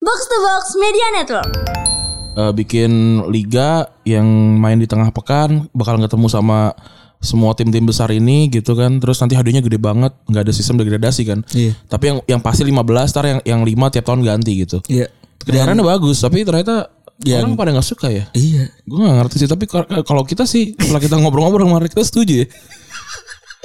Box to Box Media Network. Eh, bikin liga yang main di tengah pekan bakal ketemu sama semua tim-tim besar ini gitu kan terus nanti hadirnya gede banget nggak ada sistem degradasi kan Iya. tapi yang yang pasti 15 tar yang yang 5 tiap tahun ganti gitu Iya. kedengarannya bagus tapi ternyata Yang- orang pada nggak suka ya Iya. gue nggak ngerti sih tapi kar- eh, kalau kita sih kalau kita ngobrol-ngobrol kemarin kita setuju ya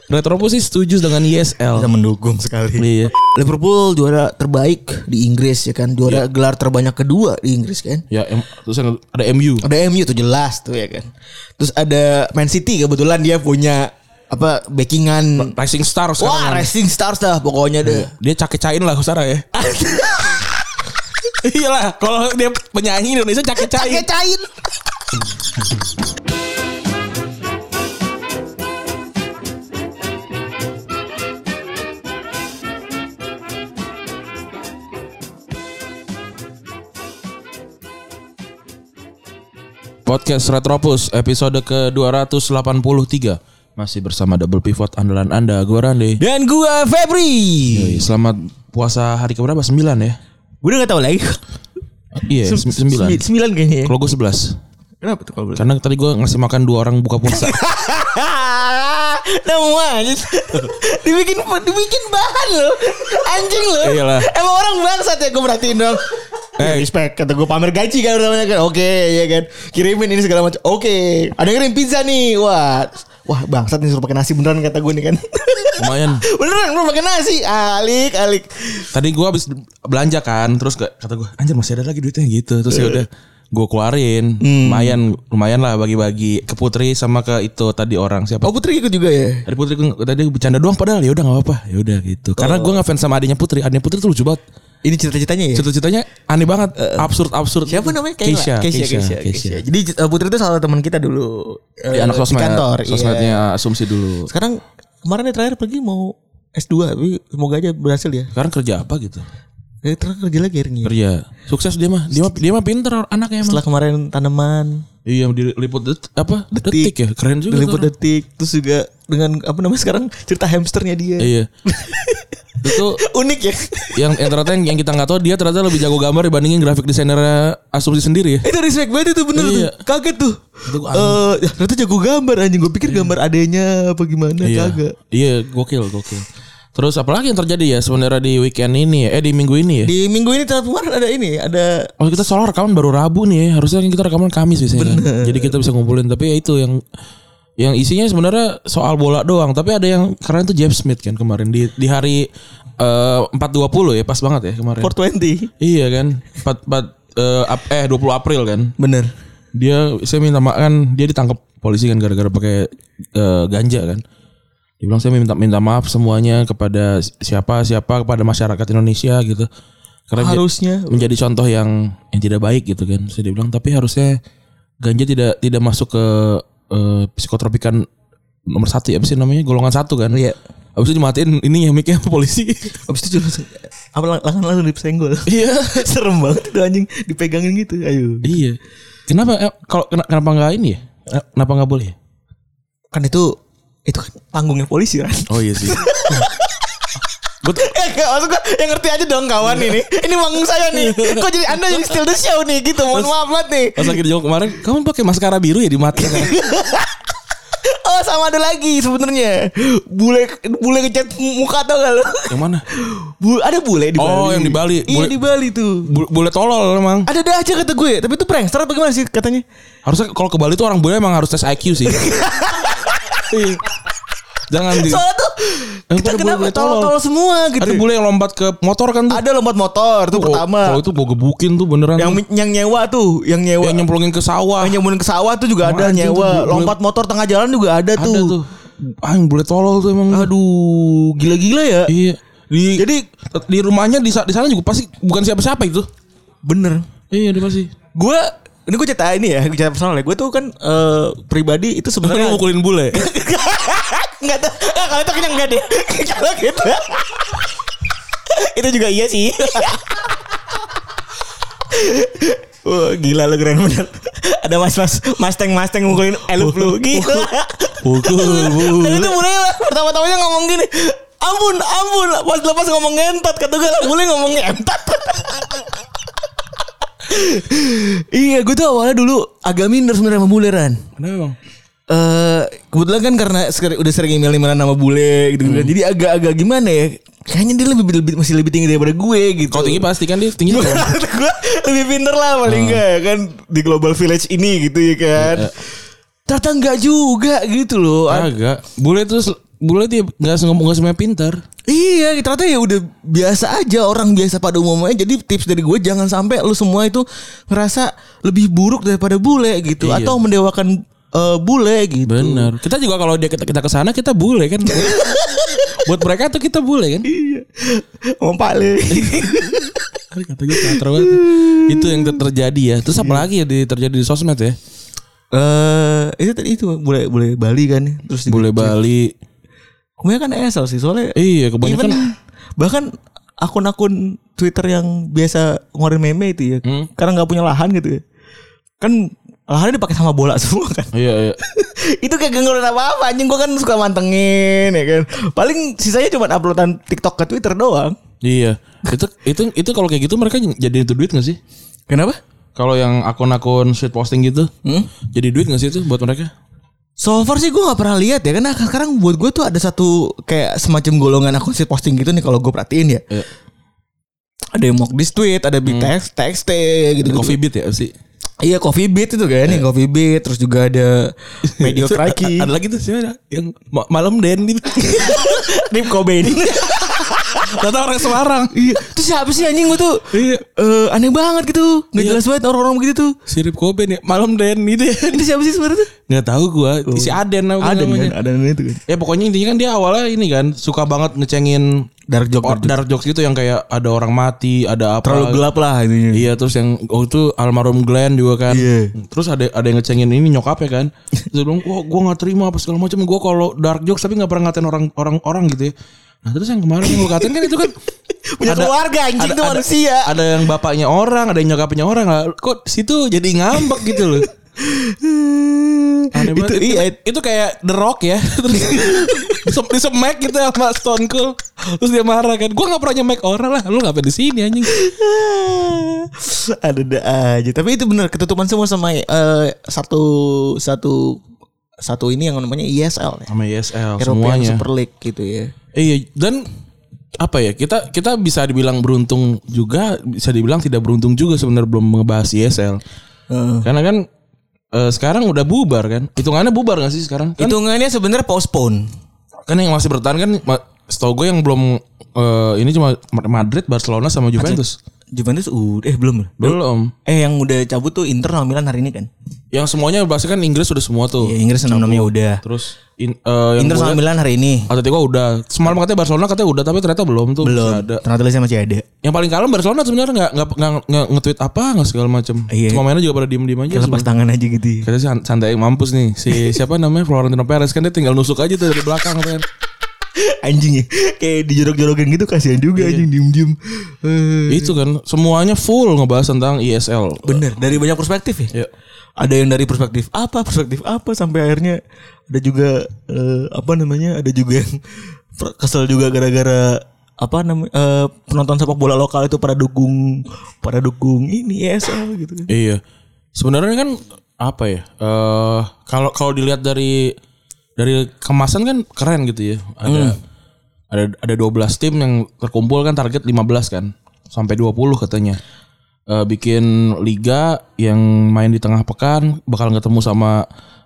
Retropus sih setuju dengan Kita ISL mendukung sekali. iya Liverpool juara terbaik di Inggris ya kan, Iya. juara gelar terbanyak kedua di Inggris kan. ya em- terus yang ada MU Ada MU tuh jelas tuh ya kan. Terus ada Man City kebetulan dia punya apa backingan Rising Star Wah, sekarang kan. racing stars dah pokoknya Iya. deh. dia cake-cain lah sekarang ya Iyalah, kalau dia penyanyi Indonesia cake-cain. Kayak cain. Podcast Retropus episode ke-283 masih bersama double pivot andalan Anda gue Rande. Dan gua Febri. Yoi, Selamat puasa hari keberapa? 9 ya. Gua udah gak tahu lagi. Iya, Sem- sembi- 9. Sembilan kayaknya. ya. Kalau gue 11. Kenapa tuh kalau boleh? Karena tadi gue ngasih makan dua orang buka puasa. Nemu aja. dibikin dibikin bahan lo. Anjing lo. Iyalah. Emang orang bangsat ya gue perhatiin dong. Eh, respect kata gue pamer gaji kan namanya kan. Oke, ya kan. Kirimin ini segala macam. Oke. Ada yang ngirim pizza nih. Wah. Wah, bangsat nih suruh pakai nasi beneran kata gue nih kan. Lumayan. beneran lu pakai nasi. Alik, alik. Tadi gue habis belanja kan, terus ke- kata gue, anjir masih ada lagi duitnya gitu. Terus ya udah gue keluarin. Lumayan lumayan lah bagi-bagi ke Putri sama ke itu tadi orang siapa? Oh, Putri ikut juga ya. Dari Putri gua- tadi bercanda doang padahal ya udah nggak apa-apa. Ya udah gitu. Karena gue ngefans sama adiknya Putri. Adiknya Putri tuh lucu banget. Ini cerita-ceritanya ya. Cerita-ceritanya aneh banget, absurd-absurd. Siapa namanya? Kayla. Keisha, Keisha, Keisha, Keisha. Jadi eh, Putri itu salah teman kita dulu. Di Eh, anak sosmed. ya. kantor. iya. Sosmednya asumsi dulu. Sekarang kemarin dia terakhir pergi mau S2 tapi semoga aja berhasil ya. Sekarang kerja apa gitu? Eh, Terus kerja lagi akhirnya. Kerja. Sukses dia mah. Dia mah dia mah pinter anaknya emang. Setelah kemarin tanaman Iya diliput det, apa? Detik. ya. Keren juga. diliput tuh orang. detik terus juga dengan apa namanya sekarang cerita hamsternya dia. Iya. Itu Unik ya. yang, yang ternyata yang, yang kita nggak tahu dia ternyata lebih jago gambar dibandingin grafik desainer asumsi sendiri ya. itu respect banget itu bener Iya. tuh. Kaget tuh. Itu gua Eh, ya, ternyata jago gambar anjing. Gue pikir gambar adanya apa gimana Iya. kagak. Iya, gokil, gokil. Terus apalagi yang terjadi ya sebenarnya di weekend ini ya? Eh di minggu ini ya? Di minggu ini ternyata kemarin ada ini, ada Oh kita soal rekaman baru Rabu nih ya. Harusnya kan kita rekaman Kamis biasanya kan. Jadi kita bisa ngumpulin tapi ya itu yang yang isinya sebenarnya soal bola doang, tapi ada yang keren tuh James Smith kan kemarin di di hari eh, 4.20 ya, pas banget ya kemarin. 420. Iya kan? 4 4 eh, ap- eh 20 April kan. Bener. Dia saya minta maaf kan dia ditangkap polisi kan gara-gara pakai eh, ganja kan. Dia bilang saya minta minta maaf semuanya kepada si- siapa siapa kepada masyarakat Indonesia gitu. Karena dia- Harusnya menjadi contoh yang yang tidak baik gitu kan. Saya bilang tapi harusnya ganja tidak tidak masuk ke eh, psikotropikan nomor satu ya, apa sih namanya golongan satu kan? Iya. Abis itu dimatiin ini yang miknya polisi. Abis itu langsung apa lang- langsung langsung disenggol. Iya. Serem banget itu anjing dipegangin gitu. Ayo. iya. Kenapa eh, kalau kena- kenapa nggak ini ya? Eh, Kenapa nggak boleh? ya? Kan itu itu kan panggungnya polisi kan. Oh iya sih. Eh, gak, maksud gua, yang ngerti aja dong kawan ini. Iya. Ini panggung saya nih. Kok jadi Anda jadi still the show nih gitu. Mohon maaf banget nih. Pas lagi dijawab kemarin, kamu pakai maskara biru ya di mata. Oh, sama ada lagi sebenarnya. Bule bule ngecat muka tau gak lo? yang mana? Bu, ada bule di Bali. Oh, yang di Bali. Iya, Bule- di Bali tuh. Bu- Bule tolol emang. Ada ada aja kata gue, tapi itu prankster apa gimana sih katanya? Harusnya kalau ke Bali tuh orang bule emang harus tes IQ sih. Iya. Jangan di Soalnya tuh Eh, pada kita kenapa bule-bule tolol. tolol-tolol semua gitu. Ada bule yang lompat ke motor kan tuh. Ada lompat motor tuh Kalau- pertama. Kalau itu kan mau gebukin tuh beneran. yang Yang, yang nyewa tuh, yang nyewa. yang Yang nyemplungin ke sawah. nyembunin ke sawah tuh juga ada anjing tuh, nyewa. bule- Lompat motor tengah jalan juga ada, Ada tuh. tuh. Ah, yang boleh tolol tuh emang. Aduh, gila-gila ya. Iya. Di, Jadi di rumahnya di, sa- di sana juga pasti bukan siapa-siapa itu. bener. Iya, dia pasti. Gue ini gue cerita ini ya, gue cerita personal ya. Gue tuh kan eh, pribadi itu Ternyata sebenarnya mukulin bule. Enggak tuh. Nah, kalau itu kenyang enggak deh. kalau gitu. itu juga iya sih. Wah, gila lu keren bener. Ada mas-mas masteng-masteng mukulin elup Eh, lu. Gila. Pukul Dan itu mulai pertama-tamanya ngomong gini. Ampun, ampun. Pas lepas ngomong ngentot, kata gue boleh ngomong ngentot. iya, gue tuh awalnya dulu agak minder sebenarnya sama bule Ran. Kenapa bang? Eh, kebetulan kan karena seker- udah sering email emailan sama bule gitu kan. Hmm. Jadi agak-agak gimana ya? Kayaknya dia lebih, lebih- masih lebih tinggi daripada gue gitu. Kalau tinggi Hmm. pasti kan dia tinggi. Gue tuh. gue lebih pinter lah paling enggak ya kan di global village ini gitu ya kan. Iya. Ternyata enggak juga gitu loh. Ad- Agak. Bule tuh sel- bule dia nggak se- ngomong nggak semuanya pintar. Iya, ternyata ya udah biasa aja orang biasa pada umumnya. Jadi tips dari gue jangan sampai lu semua itu ngerasa lebih buruk daripada bule gitu Iya. atau mendewakan eh, bule gitu. Bener. Kita juga kalau dia kita, kita kesana kita bule kan. Buat mereka tuh kita bule kan. Om Pale. Aduh, Kata gue teater banget. Itu yang ter- terjadi ya. Terus apa lagi ya di, terjadi di sosmed ya? Eh, itu tadi itu bule bule Bali kan. Terus di- Bule Bali. kebanyakan ESL sih soalnya Iya kebanyakan. even bahkan akun-akun Twitter yang biasa ngeluarin meme itu ya Hmm. karena nggak punya lahan gitu ya kan lahannya dipakai sama bola semua kan Iya, iya. itu kayak gak ngeluarin apa-apa anjing gua kan suka mantengin ya kan paling sisanya cuma uploadan TikTok ke Twitter doang Iya. Itu itu itu kalau kayak gitu mereka jadi itu duit gak sih? kenapa Kalau yang akun-akun sweet posting gitu. Hmm? Jadi duit gak sih itu buat mereka? So far sih gua gak pernah lihat ya Karena sekarang buat gue tuh ada satu Kayak semacam golongan akun si posting gitu nih Kalau gue perhatiin ya Iya. Ada yang mock this tweet Ada big text, text gitu, gitu Coffee beat ya sih. Iya Coffee Beat itu kan yang Coffee Beat terus juga ada Medio Traki. Ada lagi tuh siapa yang ma- malam den gitu. Rip Cobain. Ternyata orang Semarang. Iya. Terus siapa sih anjing gua tuh? Iya. Eh, aneh banget gitu. Gak Iya. jelas banget orang-orang begitu tuh. Sirip Kobe nih, malam Den gitu ya. Ini siapa sih sebenarnya tuh? Nggak tahu gua, si Aden apa namanya. ada itu kan. Ya pokoknya intinya kan dia awalnya ini kan suka banget ngecengin Dark joke, or- dark joke. dark jokes gitu yang kayak ada orang mati, ada apa. Terlalu gelap lah itunya. Iya terus yang oh itu almarhum Glenn juga kan. Iya. Terus ada ada yang ngecengin ini nyokapnya kan. Terus dia bilang, "Wah, gua nggak terima apa segala macam. Gua kalau dark jokes tapi nggak pernah ngatain orang orang orang gitu ya." Nah, terus yang kemarin yang lu katain kan itu kan Punya keluarga, anjing tuh manusia. Ada yang bapaknya orang, ada yang nyokapnya orang. Lah, Kok situ jadi ngambek gitu loh. Aneh itu banget. iya itu, itu kayak The Rock ya. Terus disem- disemek gitu sama Stone Cold. Terus dia marah kan. Gua nggak pernah nyemek orang lah. Lu ngapain di sini anjing? ada ada aja tapi itu bener ketutupan semua sama eh, satu satu satu ini yang namanya ESL ya. Sama YSL European semuanya. Super League gitu ya Iya dan apa ya kita kita bisa dibilang beruntung juga bisa dibilang tidak beruntung juga sebenarnya belum ngebahas ISL Heeh. karena kan eh, sekarang udah bubar kan hitungannya bubar gak sih sekarang kan, hitungannya sebenarnya postpone kan yang masih bertahan kan ma- setahu gue yang belum eh, ini cuma Madrid Barcelona sama Juventus Juventus udah eh belum belum Eh yang udah cabut tuh Inter sama Milan hari ini kan? yang semuanya pasti kan Inggris udah semua tuh Ya Inggris enam enamnya udah. terus in, eh, yang Inter gue sama liat, Milan hari ini Atletico udah semalam katanya Barcelona katanya udah tapi ternyata belum tuh belum. Masih ada Ternyata listnya masih ada. Yang paling kalem Barcelona sebenarnya nggak nggak nggak nggak nge-tweet apa nggak segala macam. Iya. Cuma mainnya juga pada diem-diem aja. Lepas sebenarnya. tangan aja gitu. ya. Katanya sih santai mampus nih si siapa namanya Florentino Perez kan dia tinggal nusuk aja tuh dari belakang kan. Anjing ya. Kayak dijorok-jorokin gitu kasihan juga anjing diem-diem. Eh, Itu kan semuanya full ngebahas tentang E ISL. Bener dari banyak perspektif ya. Iya. Ada yang dari perspektif apa, perspektif apa sampai akhirnya ada juga eh, apa namanya? Ada juga yang per- kesel juga gara-gara apa namanya eh, penonton sepak bola lokal itu pada dukung pada dukung ini ESL gitu kan. Iya. Sebenarnya kan apa ya? Eh kalau kalau dilihat dari dari kemasan kan keren gitu ya. Hmm. Ada ada ada 12 tim yang terkumpul kan target 15 kan sampai 20 katanya. Eh bikin liga yang main di tengah pekan bakal ketemu sama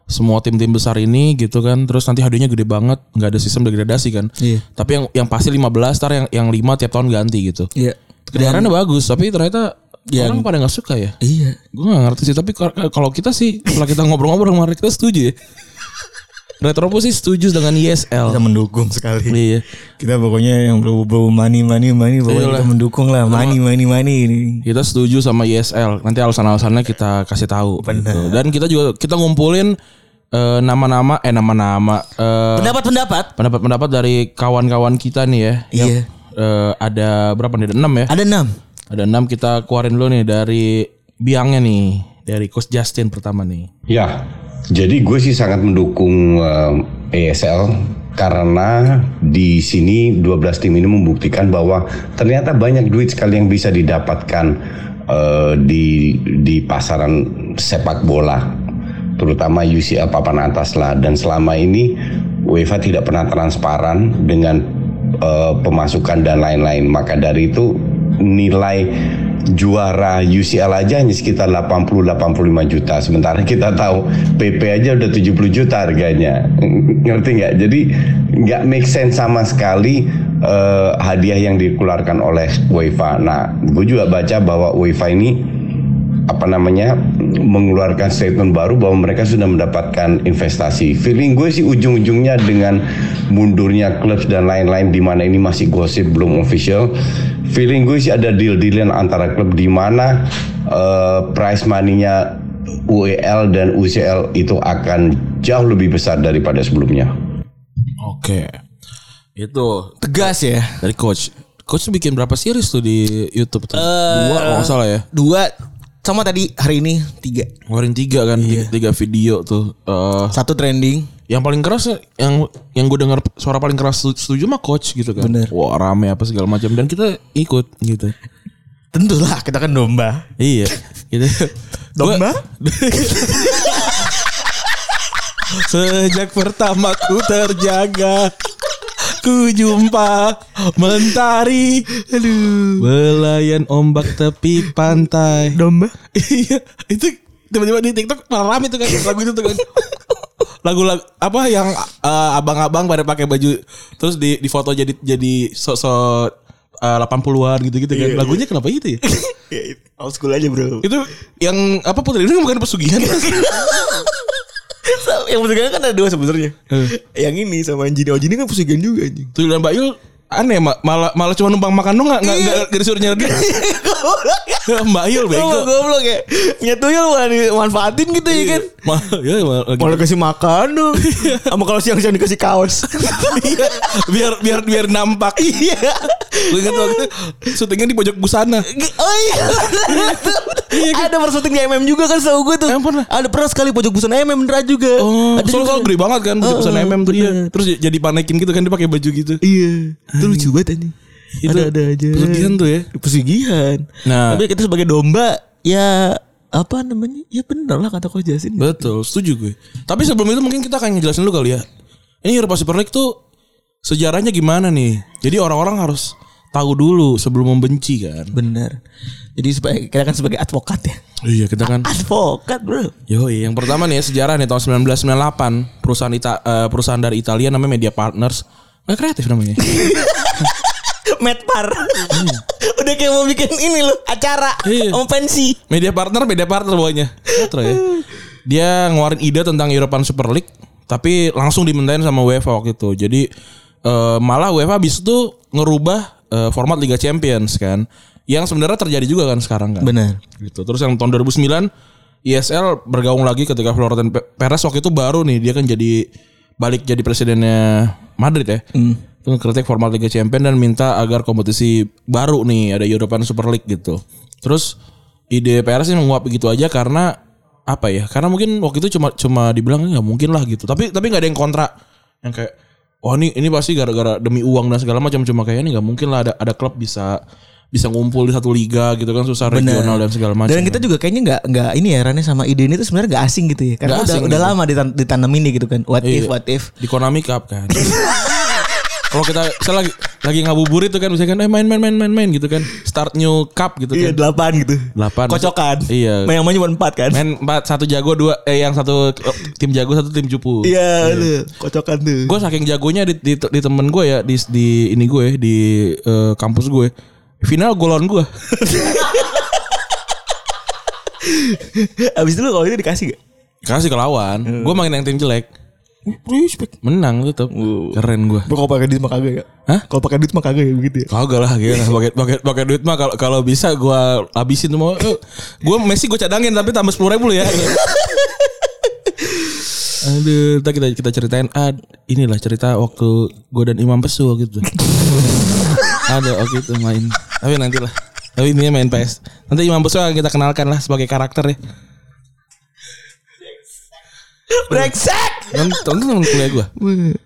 semua tim-tim besar ini gitu kan. Terus nanti hadiahnya gede banget, nggak ada sistem degradasi kan. Iya. Tapi yang yang pasti 15 tar yang yang 5 tiap tahun ganti gitu. Iya. Kedengarannya bagus, tapi ternyata orang pada nggak suka ya. Iya. Gue gak ngerti sih Tapi kar- eh, kalau kita sih Setelah kita ngobrol-ngobrol kemarin Kita setuju ya Retropus sih setuju dengan kita ISL mendukung sekali. Iya Kita pokoknya yang bro bro money money money pokoknya Iyalah. kita mendukung Iya lah money money money ini. Kita setuju sama ISL Nanti alasan-alasannya kita kasih tahu gitu. Dan kita juga Kita ngumpulin eh, Nama-nama Eh nama-nama eh, Pendapat-pendapat Pendapat-pendapat dari kawan-kawan kita nih ya Iya. Yang, eh, Ada berapa nih Ada 6 ya ada enam. Ada 6 kita keluarin dulu nih Dari biangnya nih Dari Coach Justin pertama nih Ya, jadi gue sih sangat mendukung eh, ESL karena di sini 12 tim ini membuktikan bahwa ternyata banyak duit sekali yang bisa didapatkan eh, di di pasaran sepak bola terutama UCL papan atas lah dan selama ini UEFA tidak pernah transparan dengan eh, pemasukan dan lain-lain maka dari itu nilai juara UCL aja hanya sekitar 80-85 juta sementara kita tahu PP aja udah 70 juta harganya ngerti nggak jadi nggak make sense sama sekali eh, hadiah yang dikeluarkan oleh UEFA. Nah, gue juga baca bahwa UEFA ini apa namanya mengeluarkan statement baru bahwa mereka sudah mendapatkan investasi. Feeling gue sih ujung-ujungnya dengan mundurnya klub dan lain-lain di mana ini masih gosip belum official. Feeling gue sih ada deal-dealan antara klub di mana eh, price money-nya UEL dan UCL itu akan jauh lebih besar daripada sebelumnya. Oke. Itu Tegas ya. dari coach. Coach tuh bikin berapa series tuh di YouTube tuh? Eh, Dua kalau nggak salah ya. Dua sama tadi hari ini tiga. Ngeluarin tiga kan, tiga, tiga video tuh. Eh, Satu trending. yang paling keras ya, yang yang gue dengar suara paling keras setuju- setuju mah coach gitu kan. Bener. Wah rame apa segala macam dan kita ikut gitu. Tentulah kita kan domba. Iya. gitu. Domba? Sejak pertama ku terjaga Ku jumpa mentari Aduh. Belayan ombak tepi pantai Domba. Iya Itu tiba-tiba di tiktok malah rame tuh kan Lagu itu tuh kan Lagu-lagu Apa yang eh, abang-abang pada pakai baju Terus di, di foto jadi jadi sosok eh, 80-an gitu-gitu Iya, kan Lagunya kenapa gitu ya Ya, old school aja bro. Itu yang apa Putri ini bukan pesugihan yang pesugihan kan ada dua sebenarnya. Yang ini sama Anjini. Anjini kan pesugihan juga anjing. Tuh dan Mbak Yul aneh ma- malah malah cuma numpang makan dong nggak nggak Iya. nggak nggak disuruh nyari duit. Mbak Yul Bego. bego. Goblok ya. Punya tuyul malah dimanfaatin gitu ya kan. Malah ya malah lagi- Malah kasih makan dong. Sama kalau siang-siang dikasih kaos. Oh, Iya, biar biar biar nampak. Iya. Gue ingat waktu itu syutingnya di pojok busana. Oh iya. ada persuting di MM juga kan setahu gue tuh. Emang pernah? Ada pernah sekali pojok busana MM Dra juga. Oh, ada soalnya juga. soalnya gede banget kan pojok Oh, busana oh, MM tuh dia. Terus j- jadi panekin gitu kan dia pakai baju gitu. Iya. Itu lucu banget anjing. Ada-ada aja. Pesugihan tuh ya. Pesugihan. Nah. Tapi kita sebagai domba ya apa namanya? Ya bener lah kata Coach Jasin. Betul, setuju gue. Tapi sebelum itu mungkin kita akan ngejelasin dulu kali ya. Ini Eropa Super League tuh sejarahnya gimana nih? Jadi orang-orang harus tahu dulu sebelum membenci kan. Bener. Jadi supaya kita kan sebagai advokat ya. Iya, kita kan Advokat bro. Yo, yang pertama nih ya, sejarah nih tahun 1998 perusahaan Ita- eh, perusahaan dari Italia namanya Media Partners. Nggak kreatif namanya. Medpar. Udah kayak mau bikin ini loh acara Iya. mau pensi. Media Partner, Media Partner pokoknya. Metro ya. Dia ngeluarin ide tentang European Super League tapi langsung dimintain sama UEFA waktu itu. Jadi eh, malah UEFA habis itu ngerubah eh, format Liga Champions kan. Yang sebenarnya terjadi juga kan sekarang kan. Bener. gitu. Terus yang tahun 2009 ISL bergaung lagi ketika Florentino Pe- Perez waktu itu baru nih dia kan jadi balik jadi presidennya Madrid ya. Itu kritik format Liga Champions dan minta agar kompetisi baru nih ada European Super League gitu. Terus ide Perez ini menguap begitu aja karena apa ya? Karena mungkin waktu itu cuma cuma dibilang nggak mungkin lah gitu. Tapi tapi nggak ada yang kontra yang kayak wah ini ini pasti gara-gara demi uang dan segala macam cuma kayaknya ini nggak mungkin lah ada ada klub bisa bisa ngumpul di satu liga gitu kan susah regional dan segala macam. Dan kita juga kayaknya nggak nggak ini ya Rane sama ide ini tuh sebenarnya nggak asing gitu ya. Nggak Karena udah, asing udah gitu. lama ditan- ditanamin nih gitu kan. What if Iya. what if. di Konami Cup kan. Kalau kita saya lagi lagi ngabuburit tuh kan misalkan eh main main main main main gitu kan. Start new cup gitu kan. Iya delapan gitu. Delapan. Kocokan. Iya. Main main cuma empat kan. Main empat satu jago dua eh yang satu tim jago satu tim cupu. Iya. aduh, Kocokan tuh. Gue saking jagonya di, di, di temen gue ya di, di ini gue di eh, kampus gue final golon gue Abis itu lu kalau itu dikasih gak? kasih ke lawan Iya. gue main yang tim jelek Respect. menang tetap keren gue Bro, kalau pakai duit mah kagak ya? Hah? Kalau pakai duit mah kagak ya begitu ya? Kagak lah gila pakai pakai pakai duit mah kalau kalau bisa gua habisin semua. Eh, Gua Messi gua cadangin tapi tambah 10 ribu ya. Aduh, ntar kita kita ceritain ah, inilah cerita waktu gua dan Imam Pesu waktu itu. Ada waktu itu main. Tapi nantilah. Tapi ini main PS. Nanti Imam Pesu akan kita kenalkan lah sebagai karakter ya. Brengsek. Nonton temen kuliah gue.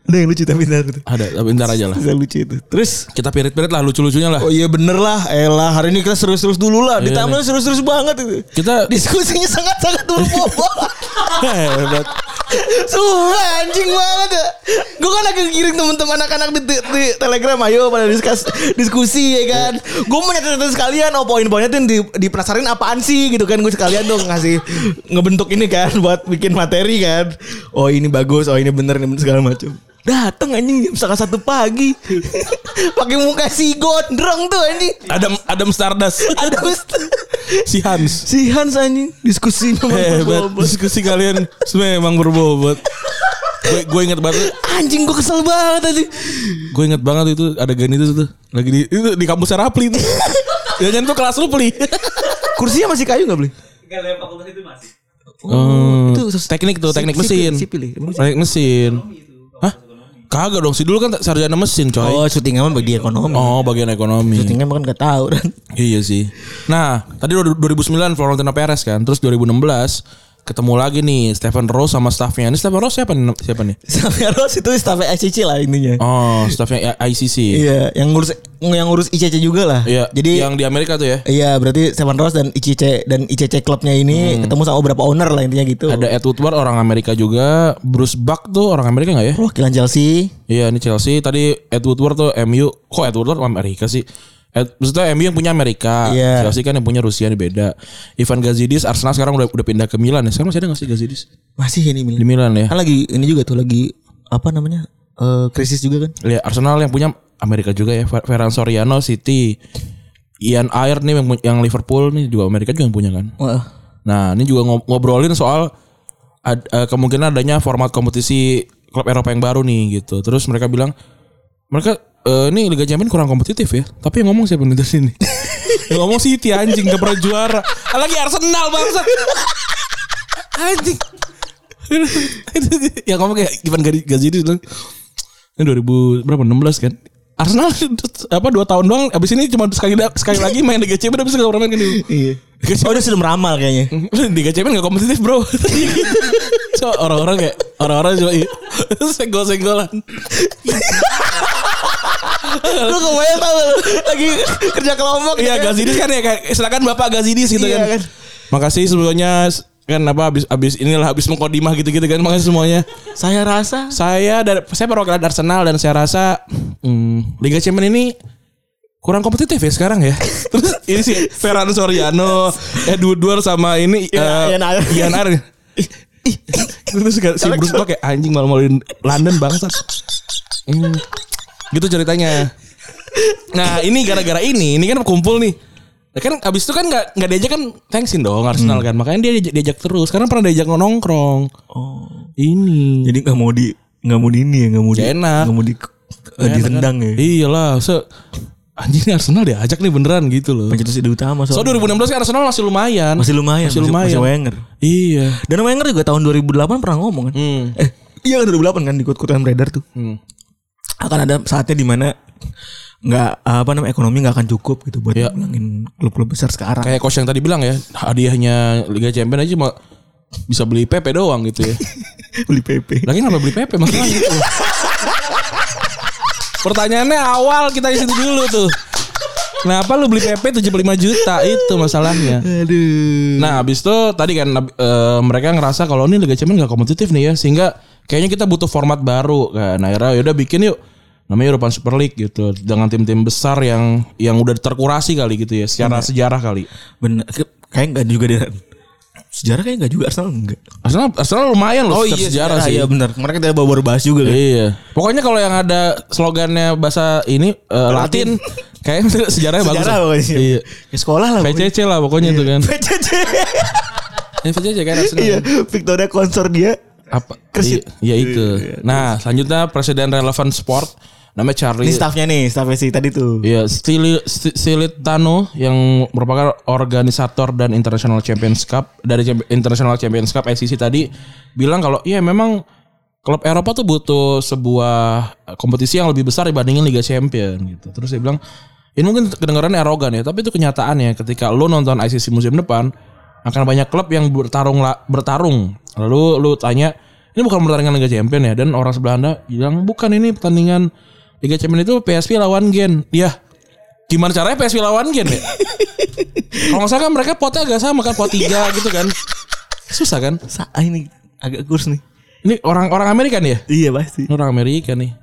Ada yang lucu tapi ntar gitu. Ada, tapi ntar aja lah. Bisa lucu itu. Terus Kita pirit-pirit lah lucu-lucunya lah. Oh iya bener lah, elah hari ini kita serius-serius dulu lah. Di Iya taman nih. serius-serius banget itu. Kita Diskusinya sangat-sangat berbobot. Hebat. Sumpah anjing banget ya. Gue kan lagi giring teman-teman anak-anak di, di- di Telegram ayo pada diskus, diskusi ya kan. Gue mau nyatet sekalian oh poin-poinnya tuh yang di, dipenasarin apaan sih gitu kan gue sekalian dong ngasih ngebentuk ini kan buat bikin materi kan. Oh ini bagus, oh ini bener, ini bener segala macam. Dateng anjing jam setengah satu pagi. Pakai muka si gondrong tuh anjing. Adam Adam Stardust. Ada Ustaz. si Hans. Si Hans anjing diskusinya Hebat. Eh, berbobot. Diskusi kalian memang berbobot. Gue gue inget banget Anjing gue kesel banget anjing. Gue inget banget itu adegan itu tuh lagi di itu di kampus Rapli tuh. Jangan tuh kelas lu beli. Kursinya masih kayu gak beli? Oh, itu sus- teknik tuh, teknik sipil- mesin. sipil ya? Emang Teknik mesin. Hah? Kagak dong, si dulu kan sarjana mesin, coy. Oh iya. syuting emang bagi ekonomi. Oh, bagian ekonomi. Syutingnya emang kan gak tahu kan. Iya sih. Nah, tadi udah 2009 Florentino Perez kan, terus 2016 ketemu lagi nih Stephen Rose sama staffnya. Ini Stephen Rose siapa nih? Siapa nih? Sampai Rose itu staff ICC lah intinya. Oh, staffnya I- ICC. Iya, yang ngurus yang ngurus ICC juga lah. Iya. Jadi yang di Amerika tuh ya. Iya berarti Stefan Rose dan ICC dan ICC klubnya ini ketemu sama beberapa owner lah intinya gitu. Ada Ed Woodward orang Amerika juga, Bruce Buck tuh orang Amerika nggak ya? Perwakilan Oh, Chelsea. Iya ini Chelsea tadi Ed Woodward tuh MU kok Ed Woodward sama Amerika sih Ed, maksudnya MU yang punya Amerika Iya. Chelsea kan yang punya Rusia ini beda Ivan Gazidis Arsenal sekarang udah udah pindah ke Milan ya sekarang masih ada nggak sih Gazidis Masih ini di Milan Milan. ya Kan lagi ini juga tuh lagi apa namanya? eh, krisis juga kan. Lihat Iya, Arsenal yang punya Amerika juga ya Fer- Ferran Soriano City Ian Ayer nih yang, yang Liverpool nih juga Amerika juga yang punya kan Wah. Nah ini juga ngob- ngobrolin soal ad- eh, kemungkinan adanya format kompetisi klub Eropa yang baru nih gitu. Terus mereka bilang mereka eh, ini Liga Champions kurang kompetitif ya. Tapi yang ngomong siapa nih dari sini? yang ngomong City anjing gak pernah juara. Ah, Lagi Arsenal bangsat. Anjing. yang ngomong kayak Ivan Gadi- Gazidis bilang ini 2000 berapa 16 kan? Arsenal apa dua tahun doang abis ini cuma sekali sekali lagi main Liga Champions abis itu gak pernah main kan Iya. Oh, dia sudah meramal kayaknya. Liga Champions gak kompetitif bro So orang-orang kayak Orang-orang cuma i- Senggol-senggolan lu kebayang tau gak lu? lagi kerja kelompok Iya gitu kan? Gazidis kan ya kayak Silakan Bapak Gazidis gitu Iya, kan. kan. Makasih sebelumnya kan apa habis habis inilah habis mengkodimah gitu-gitu kan makasih semuanya saya rasa saya dari saya perwakilan Arsenal dan saya rasa hmm, Liga Champions ini kurang kompetitif ya sekarang ya terus ini sih Ferran Soriano Edward Woodward sama ini eh, Ian Ayer. Ian Ayer terus kayak si Bruce Buck kayak anjing malu-maluin London bangsat Hmm. gitu ceritanya nah ini gara-gara ini ini kan kumpul nih Nah, kan abis itu kan nggak nggak diajak kan thanksin dong Arsenal kan makanya dia diajak, diajak terus karena pernah diajak nongkrong ini Jadi nggak mau di nggak mau di ini ya nggak mau di Nggak kan? Iya. enak. nggak mau di eh, ditendang ya. Iyalah, se anjing ini Arsenal diajak nih beneran gitu loh. Pencetus ide utama So soalnya. 2016 kan Arsenal masih lumayan. masih lumayan, Masih lumayan. Masih Wenger. Iya. Dan Wenger juga tahun 2008 pernah ngomong kan. Hmm. Eh, iya kan 2008 kan di kut-kutan beredar tuh. Hmm. Akan ada saatnya di mana nggak apa namanya ekonomi nggak akan cukup gitu buat Iya. ngilangin klub-klub besar sekarang. Kayak coach yang tadi bilang ya, hadiahnya Liga Champions aja mah bisa beli PP doang gitu ya. Beli PP. Lagi kenapa beli PP masalahnya gitu. loh. Pertanyaannya awal kita isi dulu tuh. Kenapa lu beli PP 75 juta itu masalahnya. Aduh. Nah abis itu tadi kan eh, mereka ngerasa kalau ini Liga Champions gak kompetitif nih ya sehingga kayaknya kita butuh format baru kan. Nah akhirnya yaudah bikin yuk namanya European Super League gitu dengan tim-tim besar yang yang udah terkurasi kali gitu ya secara Iya. sejarah kali. Bener. Ke- Kayak nggak juga dia. Sejarah kayak nggak juga Arsenal enggak. Arsenal Arsenal lumayan loh secara Oh sejarah sih. Iya benar. Kemarin kita baru bahas juga kan. Iya. Pokoknya kalau yang ada slogannya bahasa ini eh, Latin, kayaknya sejarahnya bagus. Sejarah lah. pokoknya. Iya. Ke sekolah lah. pokoknya. VCC lah pokoknya itu kan. PCC. Ya, VCC kan Arsenal. Iya, Victoria konsor dia. apa Kersit. iya, iya itu nah selanjutnya presiden relevan sport namanya Charlie Ini staffnya nih, staffnya sih tadi tuh. Iya, Stili, Sti- Silitano yang merupakan organisator dan International Champions Cup dari Champ- International Champions Cup ICC tadi bilang kalau ya memang klub Eropa tuh butuh sebuah eh, kompetisi yang lebih besar dibandingin Liga Champions gitu. Terus dia bilang ini mungkin kedengaran erogan ya, tapi itu kenyataannya ketika lo nonton ICC musim depan akan banyak klub yang bertarung la- bertarung. Lalu lu tanya Ini bukan pertandingan Liga Champion ya. Dan orang sebelah anda bilang bukan ini pertandingan Liga Champion itu PSV lawan Gen. Ya gimana caranya PSV lawan Gen ya? Kalau nggak salah kan mereka potnya agak sama kan pot tiga gitu kan. Susah kan? Sa ah, ini agak kurs nih. Ini orang-orang Amerika nih ya? Iya pasti. Ini orang Amerika nih.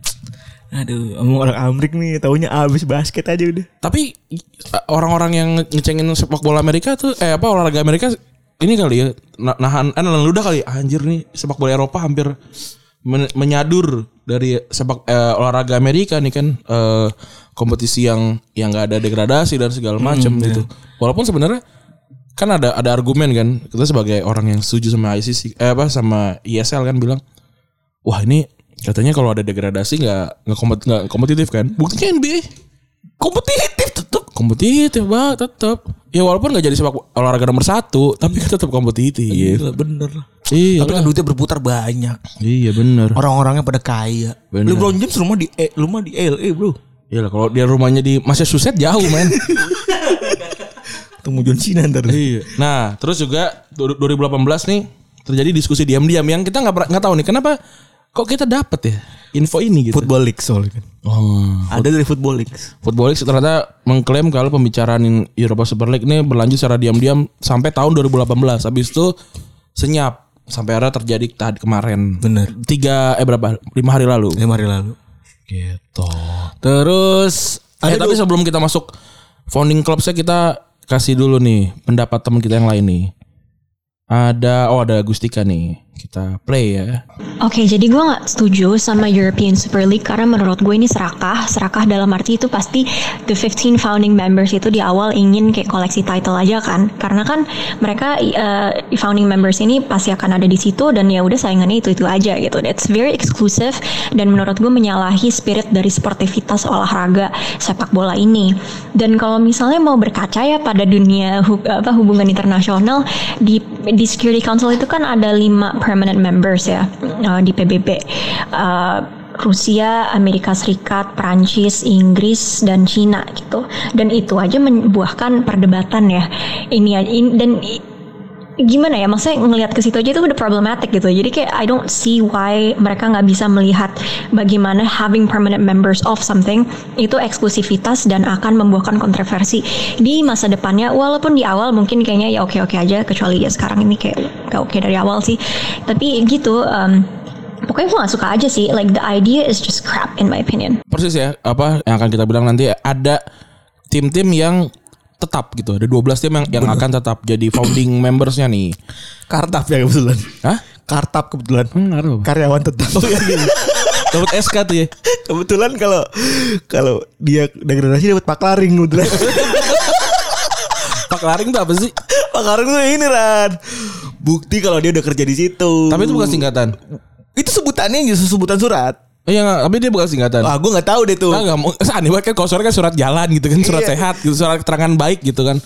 Aduh, emang orang Amrik nih, taunya abis basket aja udah. Tapi i- orang-orang yang ngecengin sepak bola Amerika tuh eh apa olahraga Amerika ini kali ya na- nahan eh nahan ludah kali anjir nih sepak bola Eropa hampir men- menyadur dari sepak eh, olahraga Amerika nih kan eh, kompetisi yang yang gak ada degradasi dan segala macam gitu. Walaupun sebenarnya kan ada ada argumen kan kita sebagai orang yang setuju sama ICC eh apa sama ISL kan bilang wah ini katanya kalau ada degradasi nggak nggak kompet- nggak kompetitif kan buktinya NBA kompetitif tetap kompetitif banget tetap ya walaupun nggak jadi sepak olahraga nomor satu tapi kan tetap kompetitif Gila, bener. iya Tapi kan duitnya berputar banyak. iya benar Orang-orangnya pada kaya. Bener. LeBron James rumah di eh, rumah di LA, Bro. iya lah, kalau dia rumahnya di Massachusetts jauh men Temu John Cena ntar. Iya. Nah, terus juga du- 2018 nih terjadi diskusi diam-diam yang kita nggak pernah- nggak tahu nih kenapa kok kita dapet ya info ini gitu. Football League soalnya kan. Oh. Ada dari Football League. Football League ternyata mengklaim kalau pembicaraan Europa Super League ini berlanjut secara diam-diam sampai tahun 2018. Habis itu senyap sampai akhirnya terjadi tadi kemarin. Bener. Tiga eh berapa? Lima hari lalu. Lima hari lalu. Gitu. Terus eh, tapi sebelum kita masuk founding club saya kita kasih dulu nih pendapat teman kita yang lain nih. Ada oh ada Gustika nih. Kita play ya. Oke, jadi gue nggak setuju sama European Super League karena menurut gue ini serakah. Serakah dalam arti itu pasti the 15 founding members itu di awal ingin kayak koleksi title aja kan. Karena kan mereka eh, founding members ini pasti akan ada di situ dan ya udah saingannya itu itu aja gitu. That's very exclusive dan menurut gue menyalahi spirit dari sportivitas olahraga sepak bola ini. Dan kalau misalnya mau berkaca ya pada dunia hu- apa hubungan internasional di di Security Council itu kan ada lima permanent members ya eh, di PBB. Eh, Rusia, Amerika Serikat, Prancis, Inggris, dan Cina gitu. Dan itu aja membuahkan perdebatan ya. Ini in- dan i- gimana ya maksudnya ngelihat ke situ aja itu udah problematic gitu jadi kayak I don't see why mereka nggak bisa melihat bagaimana having permanent members of something itu eksklusivitas dan akan membuahkan kontroversi di masa depannya walaupun di awal mungkin kayaknya ya oke oke aja kecuali ya sekarang ini kayak nggak oke dari awal sih tapi gitu em, pokoknya gue nggak suka aja sih like the idea is just crap in my opinion persis ya apa yang akan kita bilang nanti ada tim-tim yang tetap gitu ada 12 tim yang yang akan tetap jadi founding membersnya nih Kartap ya kebetulan. Hah? Kartap kebetulan. ngaruh Karyawan tetap. iya. dapat SK tuh ya kebetulan kalau kalau dia degradasi dapat pak laring kebetulan. Pak Laring tuh apa sih pak laring tuh ini Ran. Bukti kalau dia udah kerja di situ. tapi itu bukan singkatan Itu sebutannya justru sebutan surat. iya nggak, tapi dia bukan singkatan Ah, gue nggak tahu deh tuh. Nah, nggak mau aneh banget kan kalau surat kan surat jalan gitu kan surat Iya. sehat gitu surat keterangan baik gitu kan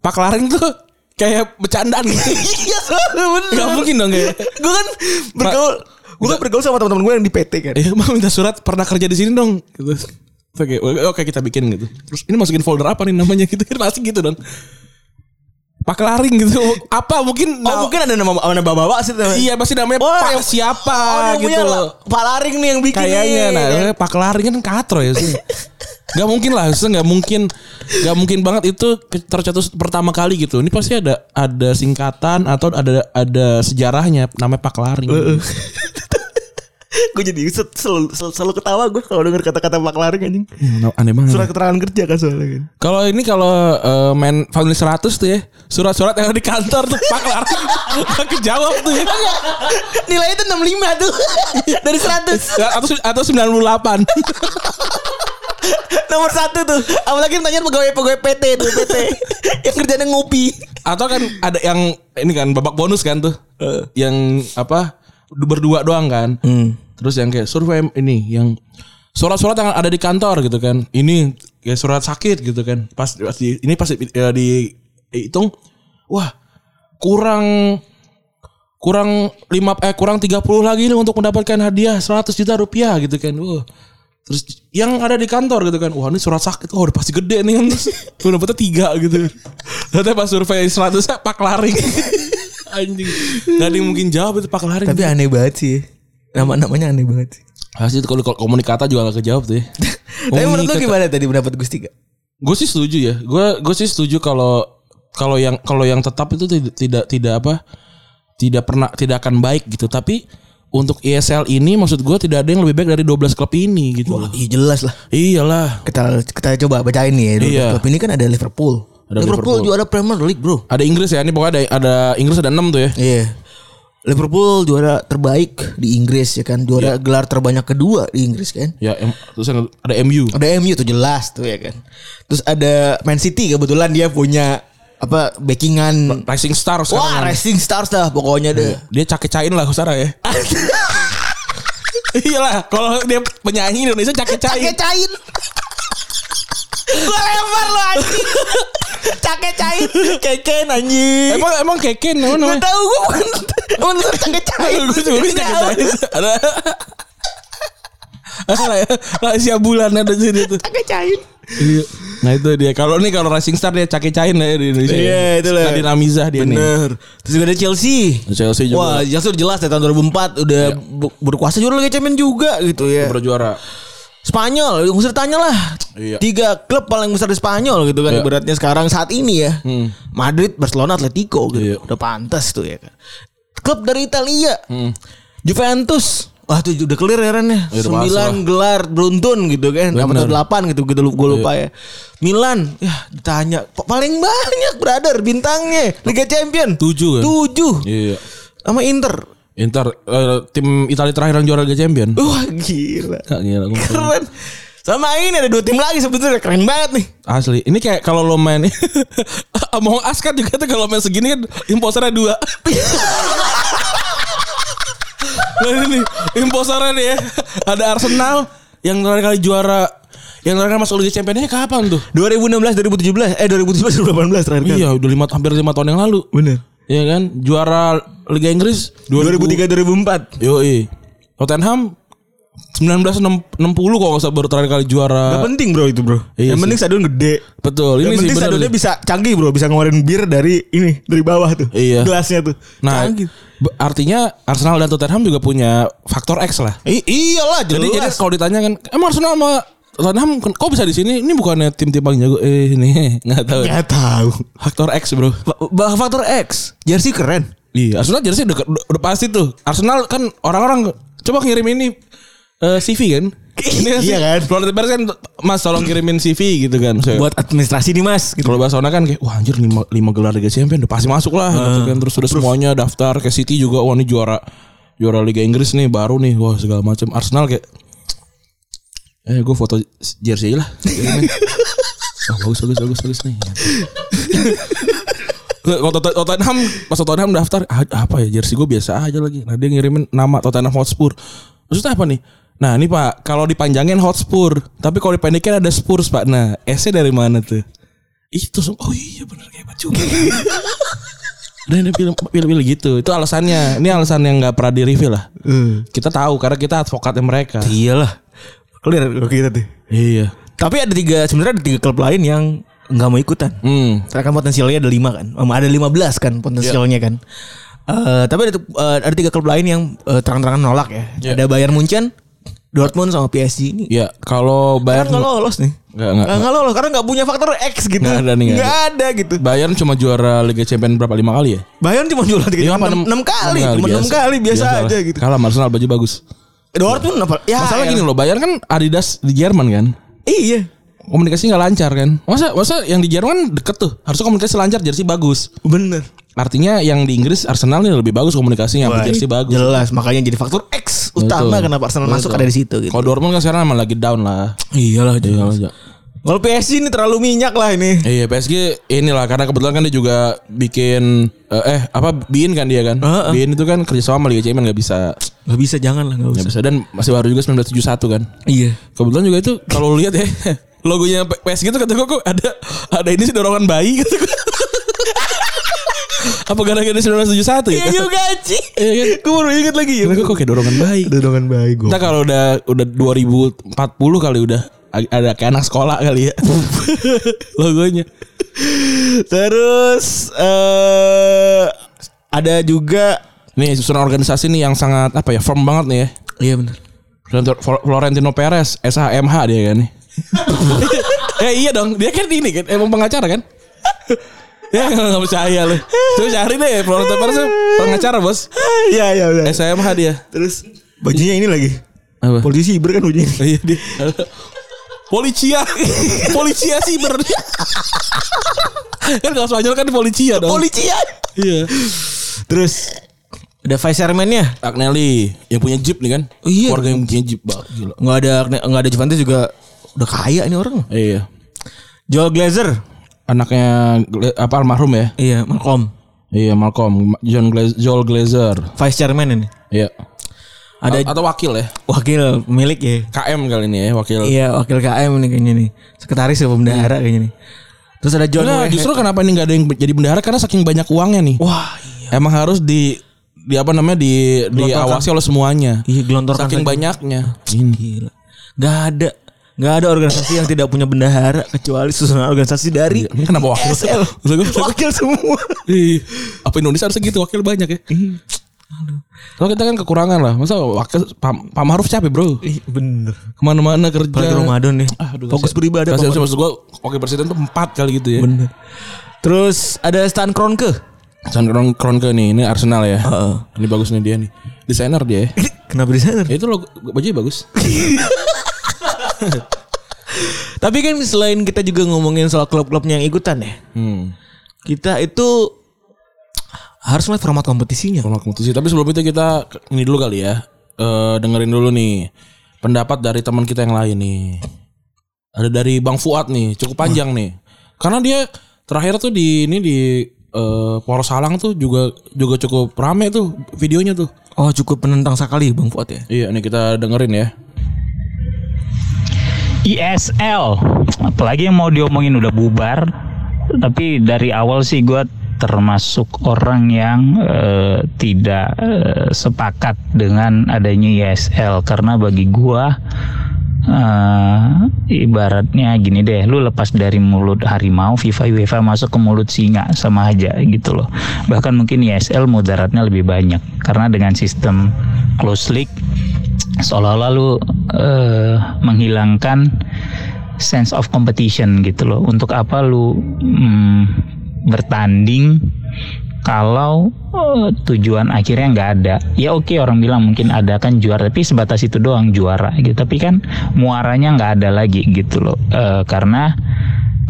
Pak Laring tuh kayak bercandaan gitu Iya, soalnya bener. nggak mungkin dong kayak Gue kan bergaul, gue kan bergaul sama teman-teman gue yang di PT kan. Eh, mau minta surat pernah kerja di sini dong. Gitu. Oke, oke kita bikin gitu. Terus ini masukin folder apa nih namanya gitu kan pasti gitu dong. Pak Laring gitu. Apa mungkin Oh, mungkin ada nama ada bapak-bapak sih. teman. Iya pasti namanya Oh, Pak yang- siapa Oh, yang gitu punya loh. lah, Pak Laring nih yang bikin. Kayaknya nih. nah Pak Laring kan katro ya sih. Gak mungkin lah, harusnya gak mungkin, gak mungkin banget itu ke- tercetus pertama kali gitu. Ini pasti ada ada singkatan atau ada ada sejarahnya namanya Pak Laring. gue jadi set, selalu, selalu, selalu ketawa gue kalau denger kata-kata Pak Laring anjing. Hmm, Aneh banget. Surat keterangan kerja kan soalnya kan. Kalau ini kalau eh, main family 100 tuh ya Surat-surat yang ada di kantor tuh Pak Laring Gak kejawab tuh ya Nilainya tuh 65 tuh. Dari 100. Ya, atau, atau 98 Nomor satu tuh. Apalagi tanya pegawai-pegawai PT tuh, PT. yang kerjanya ngopi. Atau kan ada yang Ini kan babak bonus kan tuh Yang apa Berdua doang kan Hmm. Terus yang kayak survei ini Yang surat-surat yang ada di kantor gitu kan Ini kayak surat sakit gitu kan Pas, pasti- Ini pasti ya, dihitung Wah kurang kurang lima eh kurang 30 lagi nih untuk mendapatkan hadiah 100 juta rupiah gitu kan. Wah. Terus yang ada di kantor gitu kan. Wah, ini surat sakit. Wah, udah pasti gede nih eh, kan. Terus gue dapetnya 3 gitu. Ternyata pas survei 100 pak laring. anjing. Gak ada yang mungkin jawab itu pakal hari. Tapi aneh banget sih. Nama-namanya aneh banget sih. Hasil itu kalau kalau komunikata juga gak kejawab tuh ya. Tapi menurut lu Komunikata- gimana tadi pendapat Gusti gak? Gue sih setuju ya. Gue gue sih setuju kalau kalau yang kalau yang tetap itu tidak tidak tidak apa tidak pernah tidak akan baik gitu. Tapi untuk ESL ini maksud gue tidak ada yang lebih baik dari 12 klub ini gitu. loh. Iya jelas lah. Iyalah. Kita kita coba bacain nih ya. dulu. Iya. Klub ini kan ada Liverpool. Ada Liverpool, Liverpool. juara Premier League bro. Ada Inggris ya. Ini pokoknya ada ada Inggris ada 6 tuh ya. Iya. Liverpool juara terbaik di Inggris ya kan. Iya. Juara gelar terbanyak kedua di Inggris kan. Ya em- terus yang- ada MU. Ada MU tuh jelas tuh ya kan. Terus ada Man City kebetulan dia punya apa backingan Rising Star Wah, sekarang. racing stars dah pokoknya deh. dia cake-cain lah Husara ya. Iyalah, kalau dia penyanyi Indonesia cake-cain. cain. Gue lempar lo anjing. Cake cain. Keken anjing. Emang emang keken emang Gak namanya. tau gue bukan. Emang lu cake cain. Gue juga bisa cake-cain. Ada Ada ya, rahasia bulan ada di sini tuh. Cake cain. Iya. Nah itu dia. Kalau nih kalau Rising Star dia cake-cain lah ya di Indonesia. Iya, itulah. Nadine Amizah dia nih. Bener. Terus juga ada Chelsea. Chelsea juga Wah, Iya. Chelsea udah jelas dari tahun 2004 udah bu- berkuasa juara Liga Champions juga gitu ya. berjuara. Spanyol, yang usah ditanya lah. Iya. Tiga klub paling besar di Spanyol gitu kan Iya. ibaratnya sekarang saat ini ya. Hmm. Madrid, Barcelona, Atletico Iya. gitu. Udah pantas tuh ya kan. Klub dari Italia. Juventus. Wah itu udah clear ya Ren Hmm. Iya, ya. udah Sembilan pasti lah. Iya. gelar beruntun gitu kan. Apa Bener. tuh delapan gitu gitu gue lupa ya. Milan ya ditanya "Pa- paling banyak brother bintangnya Liga Champion. Tujuh kan? Tujuh. Iya. Sama Inter. Inter eh, tim Italia terakhir yang juara Liga Champion. Wah gila. Kak gila gua- Keren. Sama ini ada dua tim lagi sebetulnya keren banget nih. Asli. Ini kayak kalau lo main Among Us kan juga tuh kalau main segini kan imposternya dua. nah ini nih, imposternya nih ya. Ada Arsenal yang terakhir kali juara yang terakhir kali masuk Liga Champions kapan tuh? 2016 2017 eh 2017 2018 terakhir kan? kali. Iya, udah lima, hampir lima tahun yang lalu. Bener. Iya kan? Juara Liga Inggris 2003 2004. Yoi. Tottenham 1960 kok nggak usah baru terakhir kali juara. Gak penting bro itu bro. Iya Yang sih. penting stadion gede. Betul. Yang Ini sih penting bener stadionnya sih. bisa canggih bro, bisa ngeluarin bir dari ini dari bawah tuh. Iya. Gelasnya tuh. Nah, Canggih. be- artinya Arsenal dan Tottenham juga punya faktor X lah. I- iyalah Jadi, jadi jelas. kalau ditanya kan, emang Arsenal sama Tottenham ken- kok bisa di sini? Ini bukannya tim-tim paling jago? Eh, ini nggak tahu. Gak tahu. Faktor X bro. Bah Iya. faktor X, jersey keren. Iya, Arsenal jersey udah, udah, udah pasti tuh. Arsenal kan orang-orang coba ngirim ini eh, CV kan? Ini Iya kan? Florida Bears kan Mas tolong kirimin CV gitu kan. Saya- Buat administrasi nih mas. Gitu. Kalau Barcelona kan kayak wah anjir 5, gelar Liga Champions udah pasti masuk lah gitu kan. Terus udah semuanya daftar ke City juga wah ini juara juara Liga Inggris nih baru nih wah segala macam Arsenal kayak eh gue foto jersey aja lah. Wah bagus bagus bagus bagus nih. Kalau Tot- Tottenham pas Tottenham daftar "Ah, apa ya jersey gue biasa aja lagi. Nah dia ngirimin nama Tottenham Hotspur. Maksudnya apa nih? Nah ini pak kalau dipanjangin Hotspur tapi kalau dipendekin ada Spurs pak. Nah S-nya dari mana tuh? Itu sem- oh iya bener hebat juga. Dan dia pilih, pilih, pilih gitu. Itu alasannya. Ini alasan yang nggak pernah di reveal lah. Kita tahu karena kita advokatnya mereka. Iyalah. Clear kalau kita tuh. Iya. Tapi ada tiga sebenarnya ada tiga klub lain yang nggak mau ikutan. Hmm. Karena kan potensialnya ada 5 kan. Em, Ada 15 kan potensialnya Iya. kan. Eh, tapi ada, eh, ada tiga klub lain yang eh, terang-terangan nolak Iya. ya. Ada Bayern Munchen, Dortmund sama PSG ini. Ya Kan kalau Bayern Nggak lolos nih. Nggak, nggak, Nggak lolos karena nggak punya faktor X gitu. Nggak ada nih, nggak Nggak ada gitu. Bayern cuma juara Liga Champions berapa lima kali ya? Bayern cuma jualan tiga Lima Gitu. enam apa enam Iya, enam- kali, enam cuma enam kali biasa, Biasalah. aja gitu. Kalah sama Arsenal baju bagus. Dortmund apa? Ya, Masalah ya. gini loh, Bayern kan Adidas di Jerman kan. Iya. Komunikasi nggak lancar kan? Masa masa yang di Jerman kan deket tuh, harusnya komunikasi lancar, jersey bagus. Bener. Artinya yang di Inggris Arsenal nih lebih bagus komunikasinya, sampai iya. jersey bagus. Jelas, makanya jadi faktor X utama Betul. kenapa Arsenal masuk Betul. ada di situ gitu. Kalau Dortmund kan sekarang emang lagi down lah. Iyalah, Iya, iya. Kalau PSG ini terlalu minyak lah ini. Iya PSG inilah karena kebetulan kan dia juga bikin eh, eh apa Bin kan dia kan. Heeh. Bin itu kan kerjasama sama Liga Champions nggak bisa Gak bisa, jangan lah, gak nggak bisa dan masih baru juga 1971 kan. Iya. Kebetulan juga itu kalau lu lihat ya logonya P- PSG itu kata gue kok ada ada ini sih dorongan bayi kata gue. apa gara-gara 1971 ya? Iya juga, Ci. Iya Iya kan? Gue baru inget lagi. Kata gue kok kayak dorongan bayi. Dodongan baik gue. Kita kalau udah udah 2040 kali udah ag- ada kayak anak sekolah kali ya logonya. Terus eh Ada juga Nih susunan organisasi nih yang sangat apa ya firm banget nih ya. Iya benar. Florentino- Florentino Perez, SHMH dia kan nih. eh iya dong, dia kan ini kan emang pengacara kan? ya nggak percaya lu. Coba cari deh Florentino Perez tuh pengacara bos. Iya iya benar. SHMH dia. Terus bajunya ini lagi. Apa? Polisi Iber kan bajunya. ini. Iya dia. Policia, policia siber. kan kalau Spanyol kan policia dong. Polisian. iya. Terus ada vice chairman-nya. Agnelli yang punya jeep nih kan? Iya. Keluarga yang punya jeep, Bang. Gila. Nggak ada nggak ada Juventus juga udah kaya nih orang. Iya. Joel Glazer. Anaknya Gle- apa almarhum ya? Iya, Malcolm. Iya Malcolm, John Gla- Joel Glazer. Vice chairman ini. Iya. Ada A- atau wakil ya? wakil milik ya. KM kali ini ya wakil. Iya, wakil KM nih kayaknya nih. Sekretaris ya pembendahara kayaknya nih. Terus ada John Nah, Wehe. justru kenapa ini nggak ada yang jadi bendahara karena saking banyak uangnya nih. Wah, iya. Emang harus di di apa namanya di diawasi oleh semuanya. Iya, gelontorkan Saking lagi. banyaknya. Gila. Gak ada Gak ada organisasi yang tidak punya bendahara kecuali susunan organisasi dari Iya. Ini kenapa wakil? SL. Maksud gue- Wakil semua. Ih, apa Indonesia harusnya gitu wakil banyak ya? Kalau kita kan kekurangan lah. Masa wakil Pak Pak Maruf capek, Bro. Ih, bener. Kemana-mana kerja. Apalagi Ramadan nih. Aduh, Fokus kasihan. beribadah, Kasihan, Pak Maruf. Maksud gue wakil presiden tuh empat kali gitu ya. Bener. Terus ada Stan Kroenke. San Kron Kronke nih, ini Arsenal ya. Heeh. Ini bagus nih dia nih. Desainer dia ya. Kenapa di sana? Ya, itu logo bajunya bagus. Tapi kan selain kita juga ngomongin soal klub-klubnya yang ikutan ya. Hmm. Kita itu harus melihat format kompetisinya. Kalau kompetisi, tapi sebelum itu kita ke- ini dulu kali ya. Eh dengerin dulu nih pendapat dari teman kita yang lain nih. Ada dari Bang Fuad nih, cukup panjang nih. Karena dia terakhir tuh di ini di eh Poros Salang tuh juga juga cukup rame tuh videonya tuh. Oh cukup menentang sekali Bang Fuad ya. Iya, nih kita dengerin ya. ISL apalagi yang mau diomongin udah bubar tapi dari awal sih gue termasuk orang yang eh, tidak eh, sepakat dengan adanya ISL karena bagi gue ibaratnya gini deh lu lepas dari mulut harimau FIFA UEFA masuk ke mulut singa sama aja gitu loh bahkan mungkin ISL mudaratnya lebih banyak karena dengan sistem close league seolah-olah lu eh, menghilangkan sense of competition gitu loh. Untuk apa lu mm, bertanding kalau eh, tujuan akhirnya nggak ada? Ya oke orang bilang mungkin ada kan juara, tapi sebatas itu doang juara gitu. Tapi kan muaranya nggak ada lagi gitu loh, Eh, karena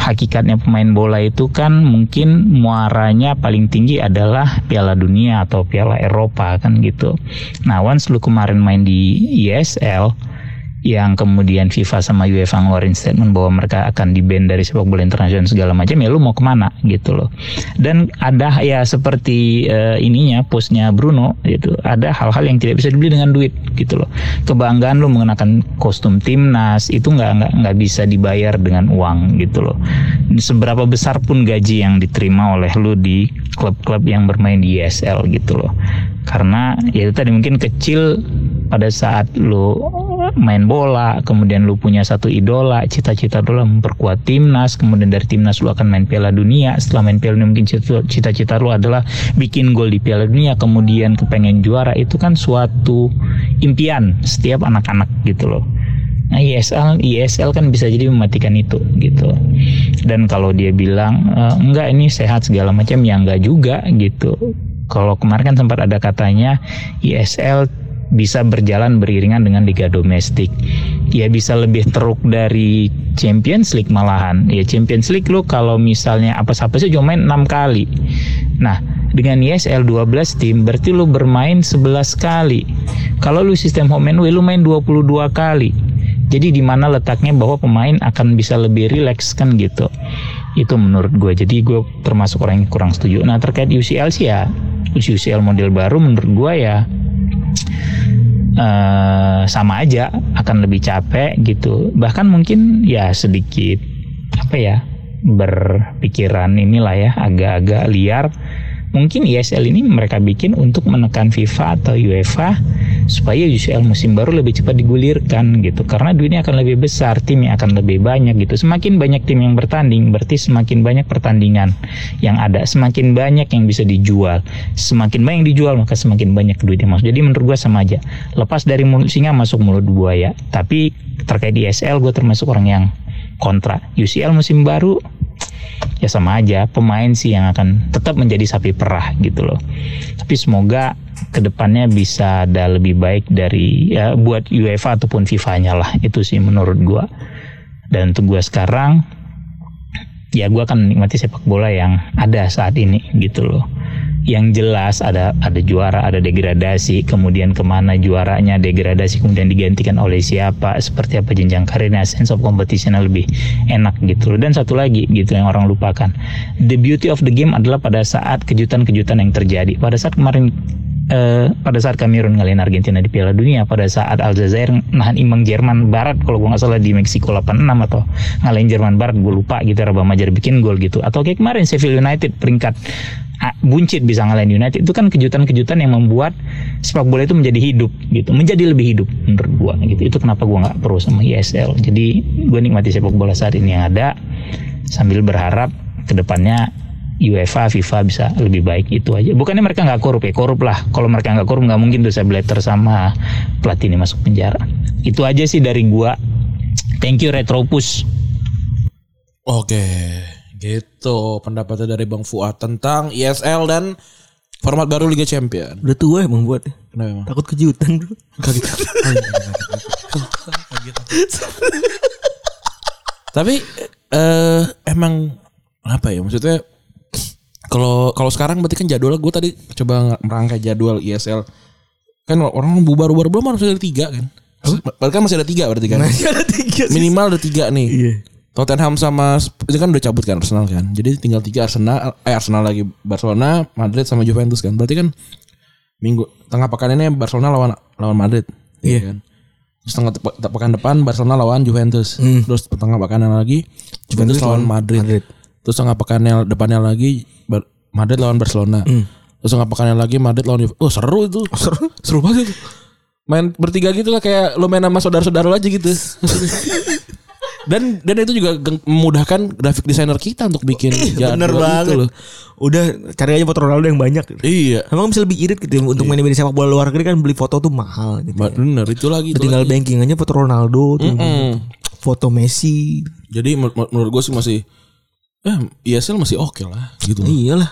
hakikatnya pemain bola itu kan mungkin muaranya paling tinggi adalah Piala Dunia atau Piala Eropa kan gitu. Nah, once lu kemarin main di ISL yang kemudian FIFA sama UEFA ngeluarin statement bahwa mereka akan di-ban dari sepak bola internasional segala macam ya lu mau kemana gitu loh dan ada ya seperti eh, ininya postnya Bruno gitu ada hal-hal yang tidak bisa dibeli dengan duit gitu loh kebanggaan lu mengenakan kostum timnas itu nggak nggak nggak bisa dibayar dengan uang gitu loh seberapa besar pun gaji yang diterima oleh lu di klub-klub yang bermain di ISL gitu loh karena ya itu tadi mungkin kecil pada saat lu main bola kemudian lu punya satu idola cita-cita lu lah memperkuat timnas kemudian dari timnas lu akan main piala dunia setelah main piala dunia mungkin cita- cita-cita lu adalah bikin gol di piala dunia kemudian kepengen juara itu kan suatu impian setiap anak-anak gitu loh Nah, ISL ISL kan bisa jadi mematikan itu gitu. Dan kalau dia bilang "Eh, enggak ini sehat segala macam ya enggak juga gitu. Kalau kemarin kan sempat ada katanya ISL bisa berjalan beriringan dengan liga domestik. Ya bisa lebih teruk dari Champions League malahan. Ya Champions League lu kalau misalnya apa-apa sih cuma main 6 kali. Nah, dengan ISL 12 tim berarti lu bermain 11 kali. Kalau lu sistem home and away lu main 22 kali. Jadi di mana letaknya bahwa pemain akan bisa lebih rileks kan gitu. Itu menurut gue. Jadi gue termasuk orang yang kurang setuju. Nah terkait UCL sih ya UCL model baru menurut gue ya eh, sama aja akan lebih capek gitu bahkan mungkin ya sedikit apa ya berpikiran inilah ya agak-agak liar mungkin ISL ini mereka bikin untuk menekan FIFA atau UEFA supaya UCL musim baru lebih cepat digulirkan gitu karena duitnya akan lebih besar timnya akan lebih banyak gitu semakin banyak tim yang bertanding berarti semakin banyak pertandingan yang ada semakin banyak yang bisa dijual semakin banyak yang dijual maka semakin banyak duit yang masuk jadi menurut gua sama aja lepas dari mulut singa masuk mulut buaya tapi terkait ISL gue termasuk orang yang kontra UCL musim baru ya sama aja pemain sih yang akan tetap menjadi sapi perah gitu loh tapi semoga kedepannya bisa ada lebih baik dari ya, buat UEFA ataupun FIFA-nya lah itu sih menurut gua dan untuk gua sekarang ya gua akan menikmati sepak bola yang ada saat ini gitu loh yang jelas ada ada juara ada degradasi kemudian kemana juaranya degradasi kemudian digantikan oleh siapa seperti apa jenjang karirnya sense of competitionnya lebih enak gitu loh dan satu lagi gitu yang orang lupakan the beauty of the game adalah pada saat kejutan-kejutan yang terjadi pada saat kemarin eh, pada saat Kamerun ngalahin Argentina di Piala Dunia, pada saat Aljazair nahan imbang Jerman Barat kalau gue nggak salah di Meksiko 86 atau ngalahin Jerman Barat gue lupa gitu Rabah Majer bikin gol gitu atau kayak kemarin Sheffield United peringkat ah, buncit bisa ngalahin United itu kan kejutan-kejutan yang membuat sepak bola itu menjadi hidup gitu menjadi lebih hidup menurut gua gitu itu kenapa gua nggak pro sama ISL jadi gue nikmati sepak bola saat ini yang ada sambil berharap kedepannya UEFA, FIFA bisa lebih baik itu aja. Bukannya mereka nggak korup ya, korup lah. Kalau mereka nggak korup nggak mungkin tuh Blatter sama Platini masuk penjara. Itu aja sih dari gua. Thank you Retropus. Oke, gitu pendapatnya dari Bang Fuad tentang ISL dan format baru Liga Champion. Udah tua emang buat Kenapa emang? Takut kejutan bro. Tapi eh, emang apa ya maksudnya? Kalau kalau sekarang berarti kan jadwalnya gue tadi coba merangkai jadwal ISL kan orang bubar-bubar belum harus ada tiga kan? Berarti kan masih ada tiga berarti kan? Ada tiga. Minimal ada tiga nih. Iya. Tottenham sama Sp- itu kan udah cabut kan Arsenal kan. Jadi tinggal tiga Arsenal, eh Arsenal lagi Barcelona, Madrid sama Juventus kan. Berarti kan minggu tengah pekan ini Barcelona lawan lawan Madrid. Iya kan. Terus tengah tepe- te- pekan depan Barcelona lawan Juventus. Terus tengah pekan lagi Hmm. Juventus lawan Madrid. Terus tengah pekannya depannya lagi Bar- Madrid lawan Barcelona. Terus tengah pekannya lagi Madrid lawan Juventus. Hmm. Oh seru itu. seru. seru banget itu. Main bertiga gitu lah kayak lo main sama saudara-saudara lo aja gitu. dan dan itu juga geng- memudahkan grafik desainer kita untuk bikin jadwal Iya, Bener gitu banget. loh. Udah cari aja foto Ronaldo yang banyak. Iya. Emang bisa lebih irit gitu ya, untuk main-main sepak bola luar negeri kan beli foto tuh mahal gitu. Ba- Bener itu lagi Hmm. itu. Tinggal banking aja foto Ronaldo, tuh. Mm. foto Messi. Jadi menur- menur- menurut gue sih masih eh ISL masih oke lah gitu. loh. Iyalah.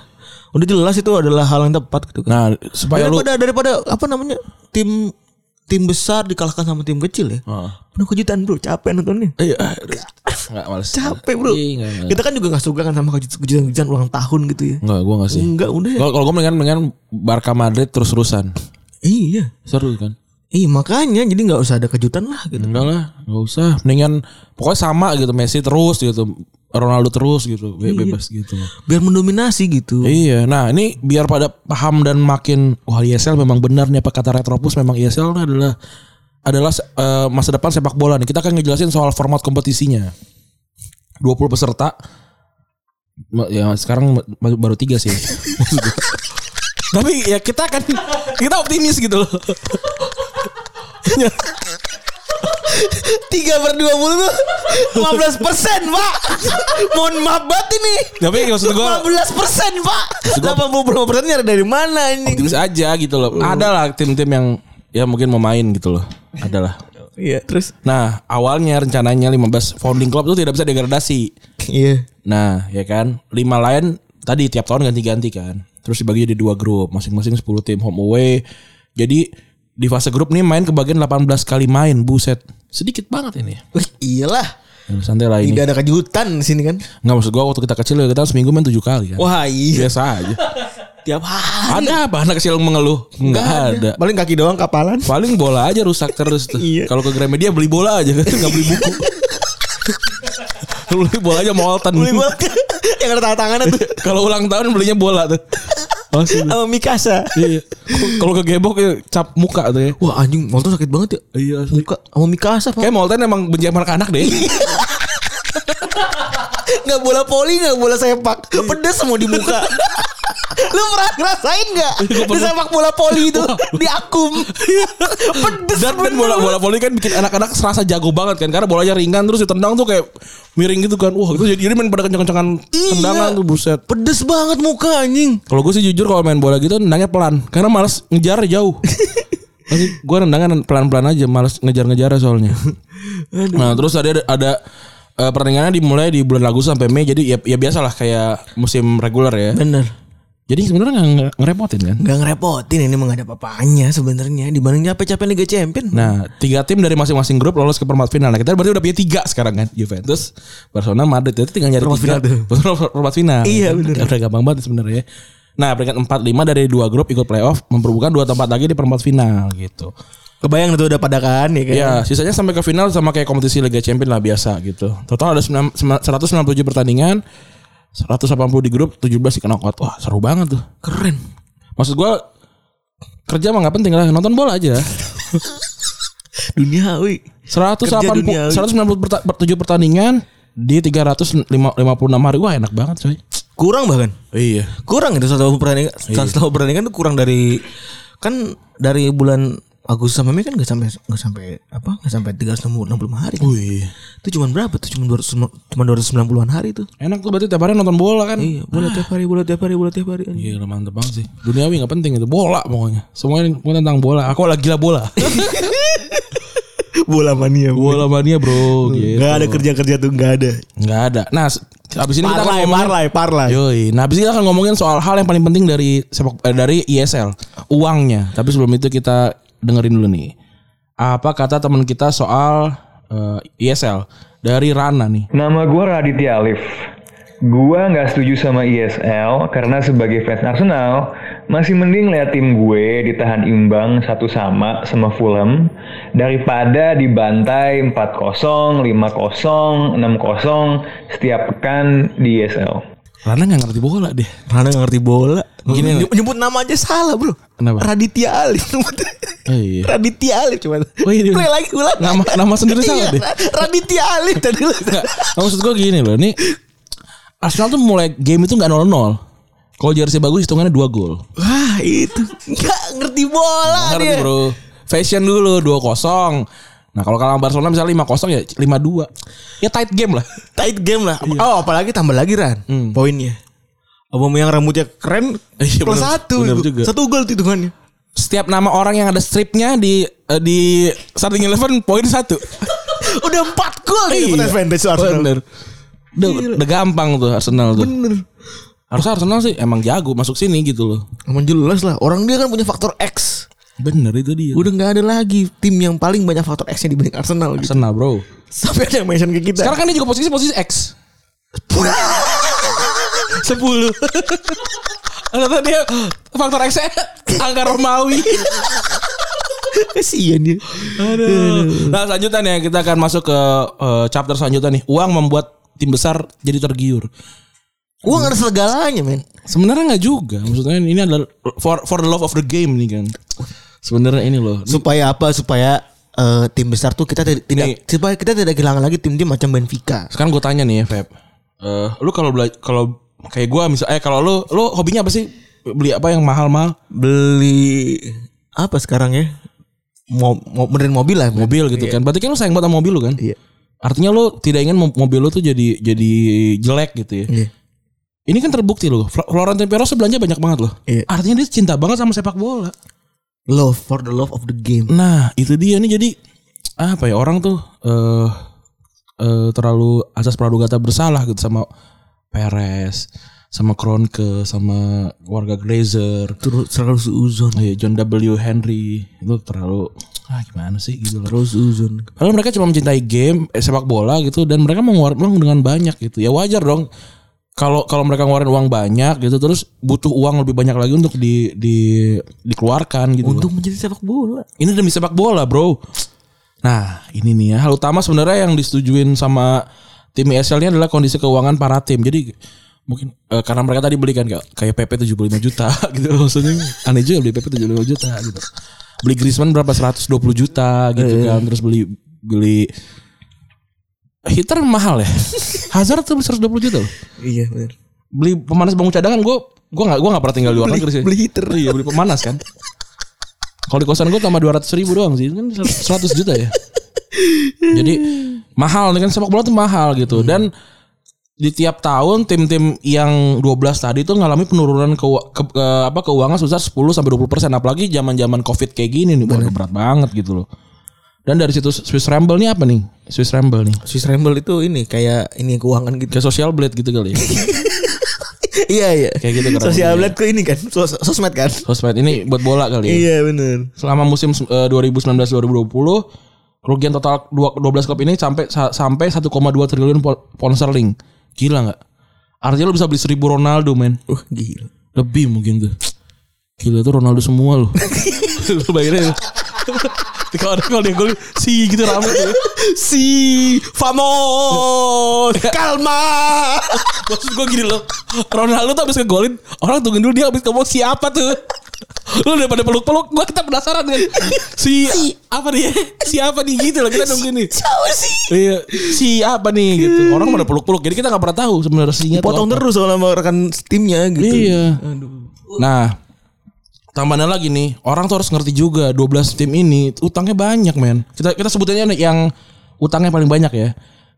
Udah jelas itu adalah hal yang tepat gitu kan. Nah, supaya lu daripada daripada apa namanya? tim tim besar dikalahkan sama tim kecil ya. Heeh. Penuh kejutan bro, capek nontonnya. Iya, aduh. nggak males. Capek bro. Iya, nggak, nggak. Kita kan juga gak suka kan sama kejut- kejutan-kejutan ulang tahun gitu ya. Nggak, gue nggak sih. Enggak udah ya. Kalau kalau gue mendingan mendingan Barca Madrid terus-terusan. Iya. Seru kan? Iya makanya jadi nggak usah ada kejutan lah gitu. Enggak lah, nggak usah. Mendingan pokoknya sama gitu Messi terus gitu, Ronaldo terus gitu, Be- bebas gitu. Biar mendominasi gitu. Iya, nah ini biar pada paham dan makin wah ISL memang benar nih apa kata Retropus memang ISL adalah adalah eh, masa depan sepak bola nih. Kita akan ngejelasin soal format kompetisinya. 20 peserta. Ma- Ya sekarang ma- baru tiga sih. Maksud gua. Tapi ya kita akan kita optimis gitu loh. Iya. Tiga per dua puluh tuh 15 persen pak. Mohon maaf banget ini. Tapi maksud gue 15 persen pak. 80 persennya dari mana ini? optimis aja gitu loh. Ada lah tim-tim yang ya mungkin mau main gitu loh. Adalah. Iya terus. Nah, awalnya rencananya 15 founding club itu tidak bisa degradasi. Iya. Nah, ya kan, lima lain tadi tiap tahun ganti-ganti kan. Terus dibagi jadi dua grup, masing-masing 10 tim home away. Jadi di fase grup nih main kebagian 18 kali main, buset. Sedikit banget ini. Wih, iyalah. Ya, Santai lah ini. Tidak ada kejutan di sini kan? Enggak maksud gua waktu kita kecil ya kita seminggu main 7 kali kan. Wah iya. biasa aja. Tiap hari. ada apa anak kecil yang mengeluh? Enggak ada. Paling kaki doang kapalan. Paling bola aja rusak terus tuh. Iya. Kalau ke Gramedia beli bola aja kan enggak beli buku. beli bola aja mau Alton. Beli bola. Yang ada tangan tangannya tuh. Kalau ulang tahun belinya bola tuh. Asli. Sama Mikasa. Iya. Kalau kegebok ya cap muka tuh ya. Wah anjing, Molton sakit banget ya. Iya. Muka sama Mikasa pak. Iya, Kayak Molten emang benci sama anak deh. Nggak bola poli, nggak bola sepak. Pedes semua di muka. Lu pernah ngerasain nggak di sepak bola poli itu di akum pedes Dan kan bola bola voli kan bikin anak-anak serasa jago banget kan karena bolanya ringan terus ditendang tuh kayak miring gitu kan. Wah, itu jadi jadi main pada kencang-kencangan tendangan tuh buset. Iya, Pedes banget muka anjing. Kalau gue sih jujur kalau main bola gitu nendangnya pelan karena males ngejar jauh. Masih gue nendangan pelan-pelan aja males ngejar-ngejar soalnya. Nah, terus tadi ada, ada eh, pertandingannya dimulai di bulan Agustus sampai Mei jadi ya, ya biasalah kayak musim reguler ya. Bener. Jadi sebenarnya nggak nggak ngerepotin kan. Gak ngerepotin ini menghadap apa-apanya sebenarnya dibanding capek-capek Liga Champion. Nah, tiga tim dari masing-masing grup lolos ke perempat final. Nah, kita berarti udah punya tiga sekarang kan, Juventus, Barcelona, Madrid. Jadi tinggal nyari Perempat tiga. final tuh. Barcelona per- perempat final. Iya, benar. Udah gampang banget sebenarnya. Nah, peringkat 4 5 dari dua grup ikut playoff memperbutkan dua tempat lagi di perempat final gitu. Kebayang itu udah pada kan ya kan. Ya, sisanya sampai ke final sama kayak kompetisi Liga Champions lah biasa gitu. Total ada 9 197 pertandingan, 180 di grup, 17 di knockout. Wah, seru banget tuh. Keren. Maksud gua kerja mah nggak penting lah, nonton bola aja. Dunia wih. 180 duniawi. 190 perta- per- tujuh pertandingan di 356 hari wah enak banget coy. Kurang bahkan. Iya. Kurang itu satu pertandingan. Satu pertandingan tuh kurang dari kan dari bulan Agustus sampai Mei kan gak sampai gak sampai apa gak sampai 360 hari. Kan? Wih. Itu cuman berapa tuh? Cuman 200 cuman 290-an hari tuh. Enak tuh berarti tiap hari nonton bola kan. Iya, bola tiap hari, bola tiap hari, bola tiap hari. anjing. Iya, mantep banget sih. Duniawi nggak penting itu bola pokoknya. Semuanya pokoknya tentang bola. Aku lagi gila bola. Iya, bola mania. Bola. bola mania, Bro. Gitu. Gak ada kerja-kerja tuh gak ada. Nggak ada. Nah, se- abis ini kita akan Parlay, ngomongin parlay, parlay. Yoi. Nah, abis ini kita akan ngomongin soal hal yang paling penting dari sepak eh, dari ISL, uangnya. Tapi sebelum itu kita dengerin dulu nih. Apa kata teman kita soal eh, ISL dari Rana nih. Nama gue Raditya Alif. Gue nggak setuju sama ISL karena sebagai fans Arsenal masih mending lihat tim gue ditahan imbang satu sama sama Fulham daripada dibantai 4-0, 5-0, 6-0 setiap pekan di E ISL. Rana nggak ngerti bola deh. Rana gak ngerti bola. Gini, Nyebut, nyebut nama aja salah bro. Kenapa? Raditya Alif. Oh, iya. Raditya Alif cuman. Oh, iya, dia- Play lagi ulang. Nama- nama sendiri salah Iya, deh. Raditya Alif tadi lu. Nggak, nah, maksud gue gini loh, nih Arsenal tuh mulai game itu nggak 0-0. Kalau jersey bagus hitungannya 2 gol. Wah Ah, itu. Gak ngerti bola Nggak dia. Ngerti bro. Fashion dulu 2-0. Nah kalau kalah Barcelona misalnya 5-0 ya 5-2. Ya tight game lah. Tight game lah. Oh apalagi tambah lagi Ran. Poinnya. Abang Hmm. yang rambutnya keren. Iya, plus bener. satu. Bener itu. juga. Satu gol tuh hitungannya. Setiap nama orang yang ada stripnya di eh, di starting eleven poin satu. Udah empat gol dia dapat Iya. advantage Arsenal. Bener. Udah, udah gampang tuh Arsenal tuh. Bener. Harusnya Arsenal sih emang jago masuk sini gitu loh. Emang jelas lah. Orang dia kan punya faktor X. Bener itu dia. Udah nggak ada lagi tim yang paling banyak faktor X-nya dibanding Arsenal. Gitu. Arsenal bro. Sampai ada yang mention ke kita. Sekarang kan dia juga posisi posisi X. sepuluh. Ternyata dia faktor X nya angka Romawi. Kasihan dia. Aduh. Nah selanjutnya nih kita akan masuk ke eh, chapter selanjutnya nih. Uang membuat tim besar jadi tergiur. Uang ada segalanya men. Sebenarnya nggak juga. Maksudnya ini adalah for for the love of the game nih kan. Sebenarnya ini loh. Supaya apa? Supaya eh, tim besar tuh kita tidak tidak- supaya kita tidak kehilangan lagi tim-tim macam Benfica. Sekarang gue tanya nih ya, Feb. Eh, lu kalau bela- kalau kayak gua misal eh kalau lu lu hobinya apa sih? Beli apa yang mahal-mahal? Beli apa sekarang ya? Mau mau benerin mobil lah. men. Mobil gitu kan. Berarti kan lu sayang banget sama mobil lu kan? Iya. Artinya lu tidak ingin mo- mobil lu tuh jadi jadi jelek gitu ya. Iya. Ini kan terbukti loh. Fl- Florentino Perez tuh belanja banyak banget loh. Iya. Artinya dia cinta banget sama sepak bola. Love for the love of the game. Nah, itu dia nih jadi apa ya orang tuh eh eh, terlalu asas praduga tak bersalah gitu sama Perez, sama Kronke, sama warga Glazer, Terus selalu seuzon. iya, John W Henry itu terlalu ah gimana sih gitu loh. Terus seuzon. Padahal mereka cuma mencintai game eh, sepak bola gitu dan mereka mengeluarkan uang dengan banyak gitu. Ya wajar dong kalau kalau mereka ngeluarin uang banyak gitu terus butuh uang lebih banyak lagi untuk di di dikeluarkan gitu. Untuk menjadi sepak bola. Ini demi sepak bola, bro. Nah, ini nih ya. Hal utama sebenarnya yang disetujuin sama tim ESL ini adalah kondisi keuangan para tim. Jadi mungkin eh, karena mereka tadi beli kan kayak, kayak PP 75 juta gitu loh. maksudnya. Aneh juga beli PP 75 juta gitu. Beli Griezmann berapa 120 juta gitu kan. Terus beli beli hitter mahal ya. Hazard tuh 120 juta loh. Iya benar. Beli pemanas bangun cadangan gue gue nggak gue nggak pernah tinggal di luar Beli- negeri sih. beli heater. Iya beli pemanas kan. Kalau di kosan gue tambah 200 ribu doang sih kan 100 juta ya. Jadi mahal nih kan sepak bola tuh mahal Hmm. gitu dan di tiap tahun tim-tim yang 12 tadi tuh ngalami penurunan ke, ke, ke- apa keuangan sebesar 10 sampai 20% apalagi zaman-zaman Covid kayak gini nih waduh berat banget gitu loh. Dan dari situ Swiss Ramble nih apa nih? Swiss Ramble nih. Swiss Ramble itu ini kayak ini keuangan gitu. Kayak social blade gitu kali ya. iya iya. Kayak gitu kurang Sosial lebih. blade ke ini kan, sos- sosmed kan. Sosmed ini buat bola kali ya. Iya benar. Selama musim eh, 2019-2020 kerugian total dua- 12 klub ini sampai sa- sampai 1,2 triliun pol- pound sterling. Gila nggak? Artinya lu bisa beli 1000 Ronaldo, men. Wah gila. Lebih mungkin tuh. Gila tuh Ronaldo semua lu. lu bayangin. Kalau ada kalau dia gol si gitu rame tuh. Si Famos Ya. Kalma. Maksud gue gini loh Ronaldo tuh abis ngegolin Orang tungguin dulu dia abis ngomong siapa tuh Lu daripada peluk-peluk Gue kita penasaran kan Si, Apa dia Siapa nih gitu loh Kita nungguin nih Iya Si apa nih gitu Orang pada peluk-peluk Jadi kita gak pernah tahu sebenarnya sinya tuh Potong apa. terus soalnya sama rekan timnya gitu. Iya Nah Tambahan lagi nih Orang tuh harus ngerti juga 12 tim ini Utangnya banyak men Kita kita sebutannya yang Utangnya paling banyak ya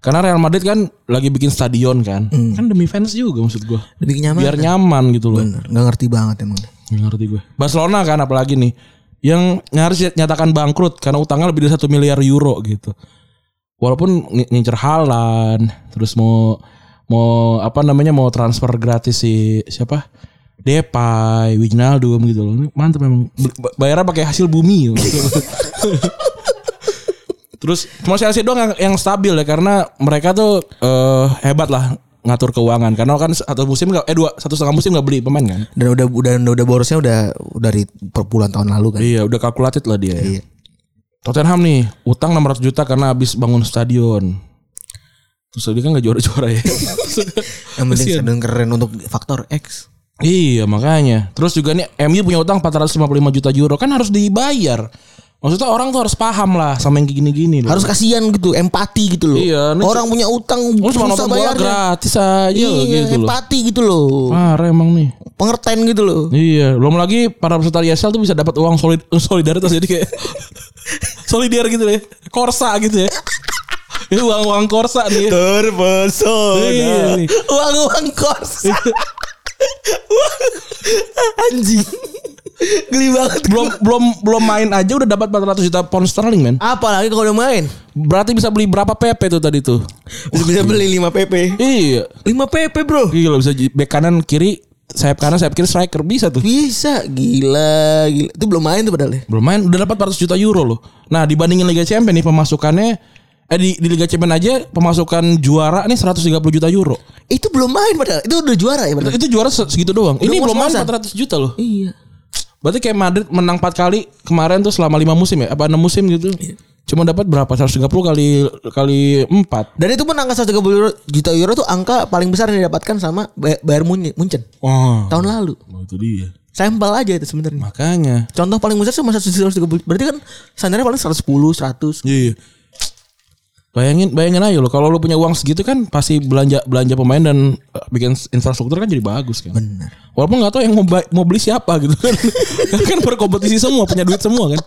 karena Real Madrid kan lagi bikin stadion kan, kan demi fans juga maksud gua Lebih nyaman. kan? biar nyaman gitu loh. Bener, nggak ngerti banget emang. Nggak ngerti gue. Barcelona kan apalagi nih yang nyaris nyatakan bangkrut karena utangnya lebih dari satu miliar euro gitu. Walaupun ngi- ngincer Halan, terus mau mau apa namanya mau transfer gratis si siapa? Depay, Wijnaldum gitu loh. Ini Mantep memang. Bayarnya pakai hasil bumi. Gitu. Terus cuma Chelsea doang yang, yang stabil ya karena mereka tuh eh, hebat lah ngatur keuangan karena kan satu musim nggak- eh dua satu setengah musim nggak beli pemain kan Dan udah udah udah borosnya udah dari per bulan tahun lalu kan. Iya, udah kalkulatif lah dia. Iya. ya. Tottenham nih, utang 600 juta karena habis bangun stadion. Terus dia kan gak juara-juara ya. Yang penting sedang keren untuk faktor X. iya, makanya. Terus juga nih MU punya utang 455 juta euro kan harus dibayar. Maksudnya orang tuh harus paham lah sama yang kayak gini-gini loh. Harus kasihan gitu, empati gitu loh. Iya, ini Orang punya utang Lu cuma nonton bola gratis aja Iya, gitu loh. empati gitu loh. Parah emang nih. Pengertian gitu loh. Iya, belum lagi para peserta ISL tuh bisa dapat uang solid eh, solidaritas jadi kayak solider gitu ya. Korsa gitu ya. Itu uang-uang korsa nih. Iya, Terpesona nih. Uang-uang kors Anjing Geli banget belum belum belum main aja udah dapat 400 juta pound sterling men. Apalagi kalau udah main Berarti bisa beli berapa PP tuh tadi tuh? Bisa, bisa beli 5 PP Iya. 5 PP bro Gila bisa j- back kanan kiri sayap kanan sayap kiri striker bisa tuh. Bisa Gila, gila. Itu belum main tuh padahal ya Belum main udah dapat 400 juta euro loh. Nah, dibandingin Liga Champions nih pemasukannya eh di, di Liga Champions aja pemasukan juara nih 130 juta euro. Itu belum main padahal Itu udah juara ya padahal Itu juara se- segitu doang. Ini Udah belum main ngos-ngosan. 400 juta loh. Iya Berarti kayak Madrid menang 4 kali kemarin tuh selama 5 musim ya, apa 6 musim gitu. Iya. Cuma dapat berapa? 130 kali kali 4. dan itu pun angka 130 euro- juta euro tuh angka paling besar yang didapatkan sama Bay- Bayern Munich- Munchen Wah. tahun lalu. Nah, Itu dia. Sampel aja itu sebenarnya. Makanya. Contoh paling besar cuma 130. Berarti kan standarnya paling 110, 100. Iya. Bayangin, bayangin aja lo. Kalau lo punya uang segitu kan pasti belanja belanja pemain dan eh, bikin s- infrastruktur kan jadi bagus kan. Bener. Walaupun nggak tahu yang mau, ba- mau beli siapa gitu kan. Karena kan berkompetisi semua, punya duit semua kan.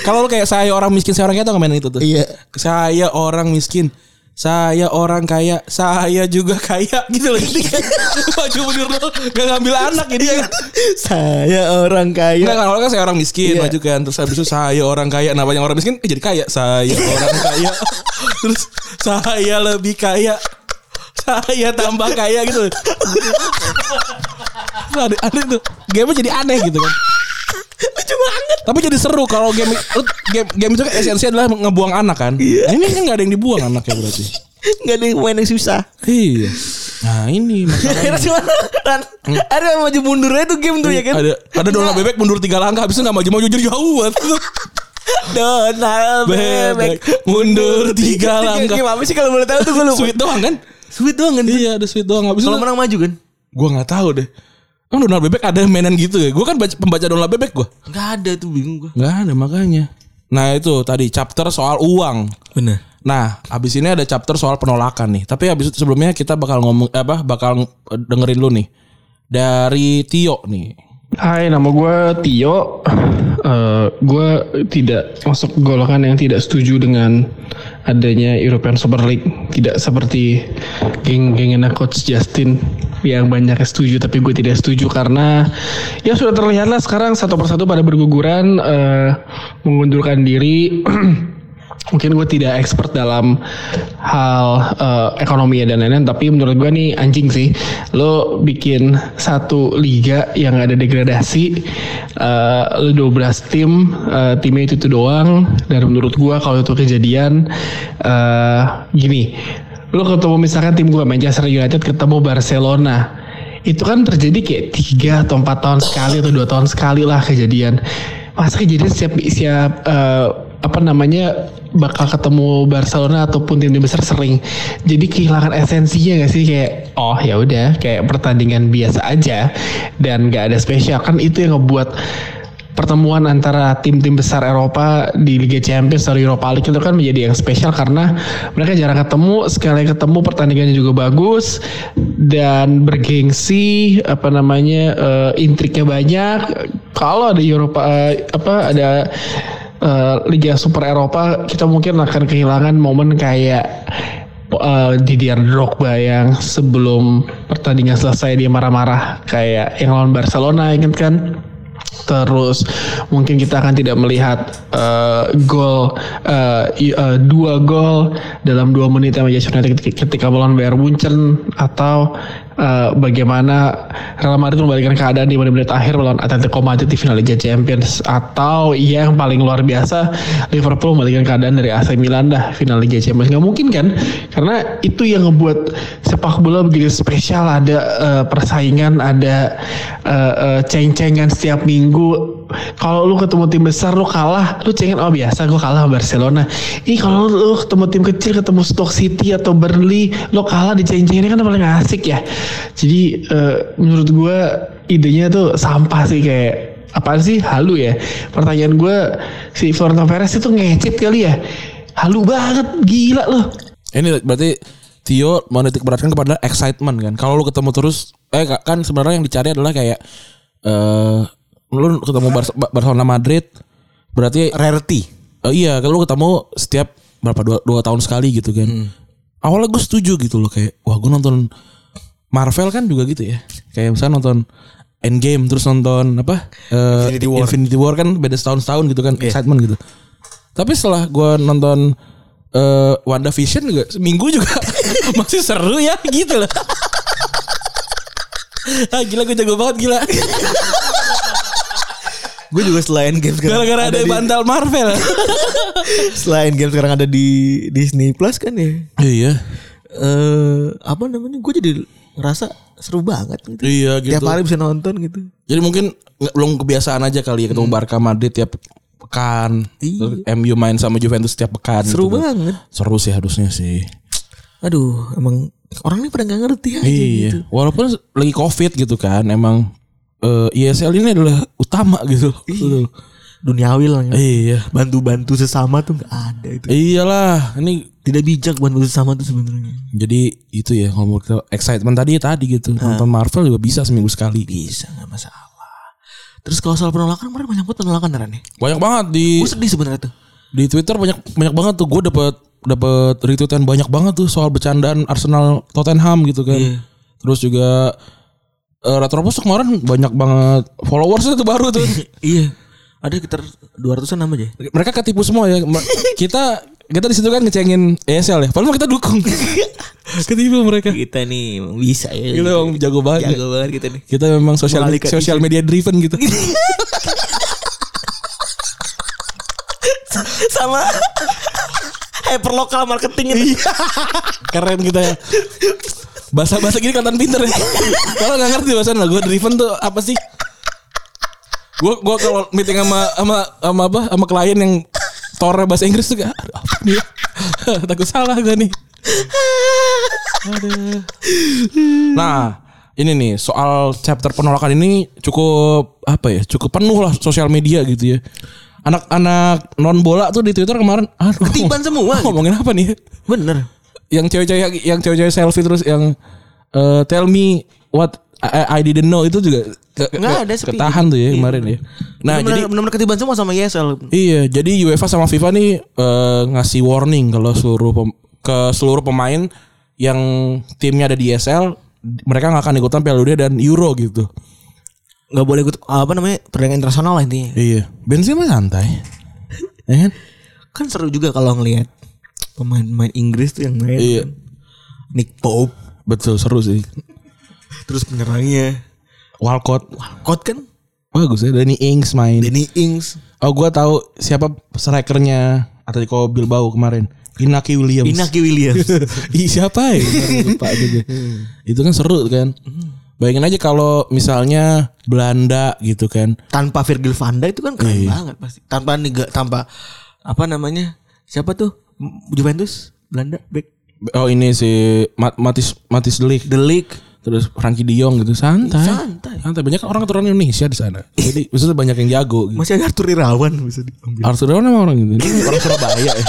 Kalau lo kayak saya orang miskin, saya orang kaya tau nggak main itu tuh. Iya. Saya orang miskin. Saya orang kaya, saya juga kaya gitu loh. Jadi kan, Maju mundur lo, gak ngambil anak jadi kan. Saya orang Enggak kaya. kan awalnya kan saya orang miskin Iya. maju kan terus habis itu saya orang kaya nah banyak orang miskin eh, jadi kaya saya orang kaya terus saya lebih kaya saya tambah kaya gitu Terus ada ada tuh game jadi aneh gitu kan lucu banget tapi jadi seru kalau game game game itu kan esensi adalah ngebuang anak kan ini kan nggak ada yang dibuang anaknya berarti Enggak ada yang main yang susah. iya nah ini masalah Akhirnya cuma Ran. Akhirnya maju mundurnya itu game tuh ya kan. ada ada donat bebek mundur tiga langkah habis itu nggak maju maju jadi jauh banget Donald bebek mundur tiga langkah Game apa sih kalau boleh tahu tuh gue lupa. Sweet doang kan? Sweet doang kan. Iya ada sweet doang. Abis Kalau itu- menang maju kan? gua nggak tahu deh. Kan Donald Bebek ada mainan gitu ya. Gua kan baca, pembaca Donald Bebek gua. Enggak ada tuh bingung gue. Nggak ada makanya. Nah itu tadi chapter soal uang. Bener. Nah, abis ini ada chapter soal penolakan nih. Tapi abis itu sebelumnya kita bakal ngomong eh, apa? Bakal eh, dengerin lu nih dari Tio nih. Hai, nama gue Tio. Eh, gue tidak masuk golongan yang tidak setuju dengan adanya European Super League. Tidak seperti geng-gengnya Coach Justin yang banyak yang setuju, tapi gue tidak setuju karena ya sudah terlihatlah sekarang satu persatu pada berguguran eh, mengundurkan diri. mungkin gue tidak expert dalam hal eh, ekonomi dan lain-lain tapi menurut gue nih anjing sih lo bikin satu liga yang ada degradasi eh, lo 12 tim eh, timnya itu tuh doang dan menurut gue kalau itu kejadian eh, gini lo ketemu misalkan tim gue Manchester United ketemu Barcelona itu kan terjadi kayak tiga atau empat tahun sekali atau dua tahun sekali lah kejadian masa kejadian siap siap eh, apa namanya bakal ketemu Barcelona ataupun tim-tim besar sering jadi kehilangan esensinya gak sih kayak oh ya udah kayak pertandingan biasa aja dan gak ada spesial kan itu yang ngebuat pertemuan antara tim-tim besar Eropa di Liga Champions atau Europa League itu kan menjadi yang spesial karena mereka jarang ketemu, sekali ketemu pertandingannya juga bagus dan bergengsi, apa namanya eh, intriknya banyak. Kalau ada Eropa eh, apa ada eh, Liga Super Eropa kita mungkin akan kehilangan momen kayak eh, Didier Drogba yang sebelum pertandingan selesai dia marah-marah kayak yang lawan Barcelona ingat kan terus mungkin kita akan tidak melihat eh, gol eh, i- eh, dua gol dalam dua menit yang Manchester United ketika- ketika melawan Bayern Munchen atau eh, bagaimana Real Madrid membalikan keadaan di menit-menit akhir melawan Atletico Madrid di final Liga Champions atau ya, yang paling luar biasa Liverpool membalikan keadaan dari AC Milan dah final Liga Champions nggak mungkin kan karena itu yang ngebuat sepak bola begitu spesial ada eh, persaingan ada eh, eh, ceng-cengan setiap minggu kalau lu ketemu tim besar lu kalah lu cengin oh biasa gue kalah sama Barcelona ih kalau lu ketemu tim kecil ketemu Stoke City atau Burnley lu kalah di cengin kan paling asik ya jadi eh, menurut gue idenya tuh sampah sih kayak apaan sih halu ya pertanyaan gue si Florentino Perez itu ngecit kali ya halu banget gila loh Ini berarti Tio mau titik beratkan kepada excitement kan. Kalau lu ketemu terus eh ka- kan sebenarnya yang dicari adalah kayak eh lu ketemu Bar- Ba- Barcelona Madrid berarti Rarity. eh, iya kalau lu ketemu setiap berapa dua, dua tahun sekali gitu kan. Hmm. Awalnya gue setuju gitu loh kayak wah gue nonton Marvel kan juga gitu ya. Kayak misalnya nonton Endgame terus nonton apa eh, Infinity War. Iya. Infinity War kan beda setahun-setahun gitu kan excitement gitu. Tapi setelah gue nonton eh WandaVision juga seminggu juga masih seru ya gitu loh. ah gila gue jago banget gila. Gue juga selain game sekarang. Gara-gara ada, di- bantal Marvel. selain game sekarang ada di Disney Plus kan ya. iya. Eh apa namanya? Gue jadi ngerasa seru banget gitu. Iya gitu. Tiap hari bisa nonton gitu. Jadi mungkin nggak- belum kebiasaan aja kali ya ketemu Hmm. Barca Madrid tiap pekan. Terus MU main sama Juventus tiap pekan. Iya. Seru gitu. banget. Seru sih harusnya sih. Aduh, emang orang ini pada nggak ngerti aja Iya. gitu. Walaupun lagi Covid gitu kan emang eh, ISL ini adalah utama gitu. Iya. Betul. Duniawi lah. ya. Iya. Bantu-bantu sesama tuh nggak ada itu. Iyalah, ini Eh, Tidak bijak bantu sesama tuh sebenarnya. jadi itu ya kalau mau kita excitement tadi tadi gitu. Nonton Marvel juga bisa seminggu sekali. Bisa nggak masalah. Terus kalau soal penolakan kemarin banyak banget penolakan Ran, ya. Banyak banget di Gue sedih sebenarnya tuh. di Twitter banyak banyak banget tuh gue dapat dapat retweetan banyak banget tuh soal bercandaan Arsenal Tottenham gitu kan. Iya. Terus juga eh, Retropos tuh kemarin banyak banget followersnya tuh baru tuh. iya. Ada sekitar 200-an nama aja. Mereka ketipu semua ya. Me- Kita kita di situ kan ngecengin ESL ya. Padahal kita dukung. ketipu mereka. Kita nih emang bisa ya. Kita emang Gitu. jago banget. Jago banget kita nih. Kita memang social Mengalihkan social media driven gitu. Sama Iya. hyperlocal marketing itu. Keren kita ya. Bahasa-bahasa gini kelihatan pinter ya. Kalau nggak ngerti bahasa lah gue driven tuh apa sih? Gue gua kalau meeting sama sama sama apa sama klien yang tore bahasa Inggris tuh kayak aduh apa nih? ya? Takut salah gue nih. Aduh. Nah, ini nih soal chapter penolakan ini cukup apa ya? Cukup penuh lah sosial media gitu ya. anak-anak non bola tuh di Twitter kemarin aduh, Ketiban semua gitu. Ngomongin apa nih? ya? Bener. Yang cewek-cewek yang cewek-cewek selfie terus yang eh, tell me what I, I didn't know itu juga ke- Nggak ke- ada, sepi. ketahan tuh ya kemarin ya. Nah, Nah, jadi benar benar ketiban semua sama YSL. Iya, jadi UEFA sama FIFA nih eh, ngasih warning kalau seluruh pem- ke seluruh pemain yang timnya ada di ESL mereka nggak akan ikutan Piala Dunia dan Euro gitu. Gak boleh ikut apa namanya pertandingan internasional lah intinya. Iya, Benzema santai. Ya kan? Kan seru juga kalau ngelihat pemain-pemain Inggris tuh yang main. Iya. kan. Nick Pope Betul seru sih. terus penyerangnya. Walcott Kot kan bagus ya Danny Ings main. Danny Ings, Oh, gua tahu siapa strikernya Atletico Bilbao kemarin. Inaki Williams. Inaki Williams. Ih siapa ya? Lupa juga. Itu kan seru kan. Bayangin aja kalau misalnya Belanda gitu kan. tanpa Virgil van Dijk itu kan keren Iya. banget pasti. Tanpa niga, tanpa apa namanya? Siapa tuh? M- Juventus, Belanda, back Oh ini si Mat- Matis Matis Delik. Delik. Terus Frankie De Jong gitu santai. Santai. Santai banyak kan orang keturunan Indonesia di sana. Jadi maksudnya banyak yang jago gitu. Masih ada Arthur Irawan bisa diambil. Arthur Dewan emang orang gitu. Dia orang Surabaya ya.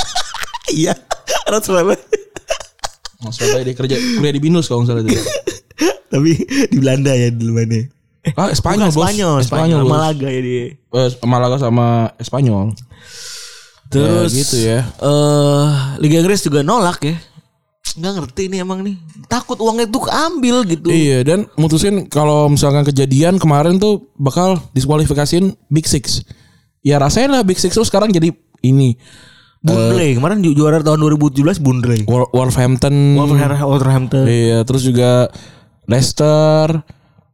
iya, Arthur Irawan. Orang Surabaya dia kerja kuliah di Binus kalau nggak salah dia. Tapi di Belanda ya dulu mainnya. Eh, Ah, Spanyol, bukan bos. Spanyol, Spanyol, Spanyol, bos. Malaga ya dia. Eh, Malaga sama Espanyol. Terus gitu ya. Eh, Liga Inggris juga nolak ya. Nggak ngerti nih emang nih. Takut uangnya tuh ambil gitu. Iya dan mutusin kalau misalkan kejadian kemarin tuh bakal diskualifikasiin Big Six. Ya rasanya lah Big Six tuh sekarang jadi ini Bundle Eh. kemarin ju- juara tahun 2017 Bundle. Wol- Wolverhampton, Wolverhampton. Wolverhampton. Hmm. Iya terus juga Leicester,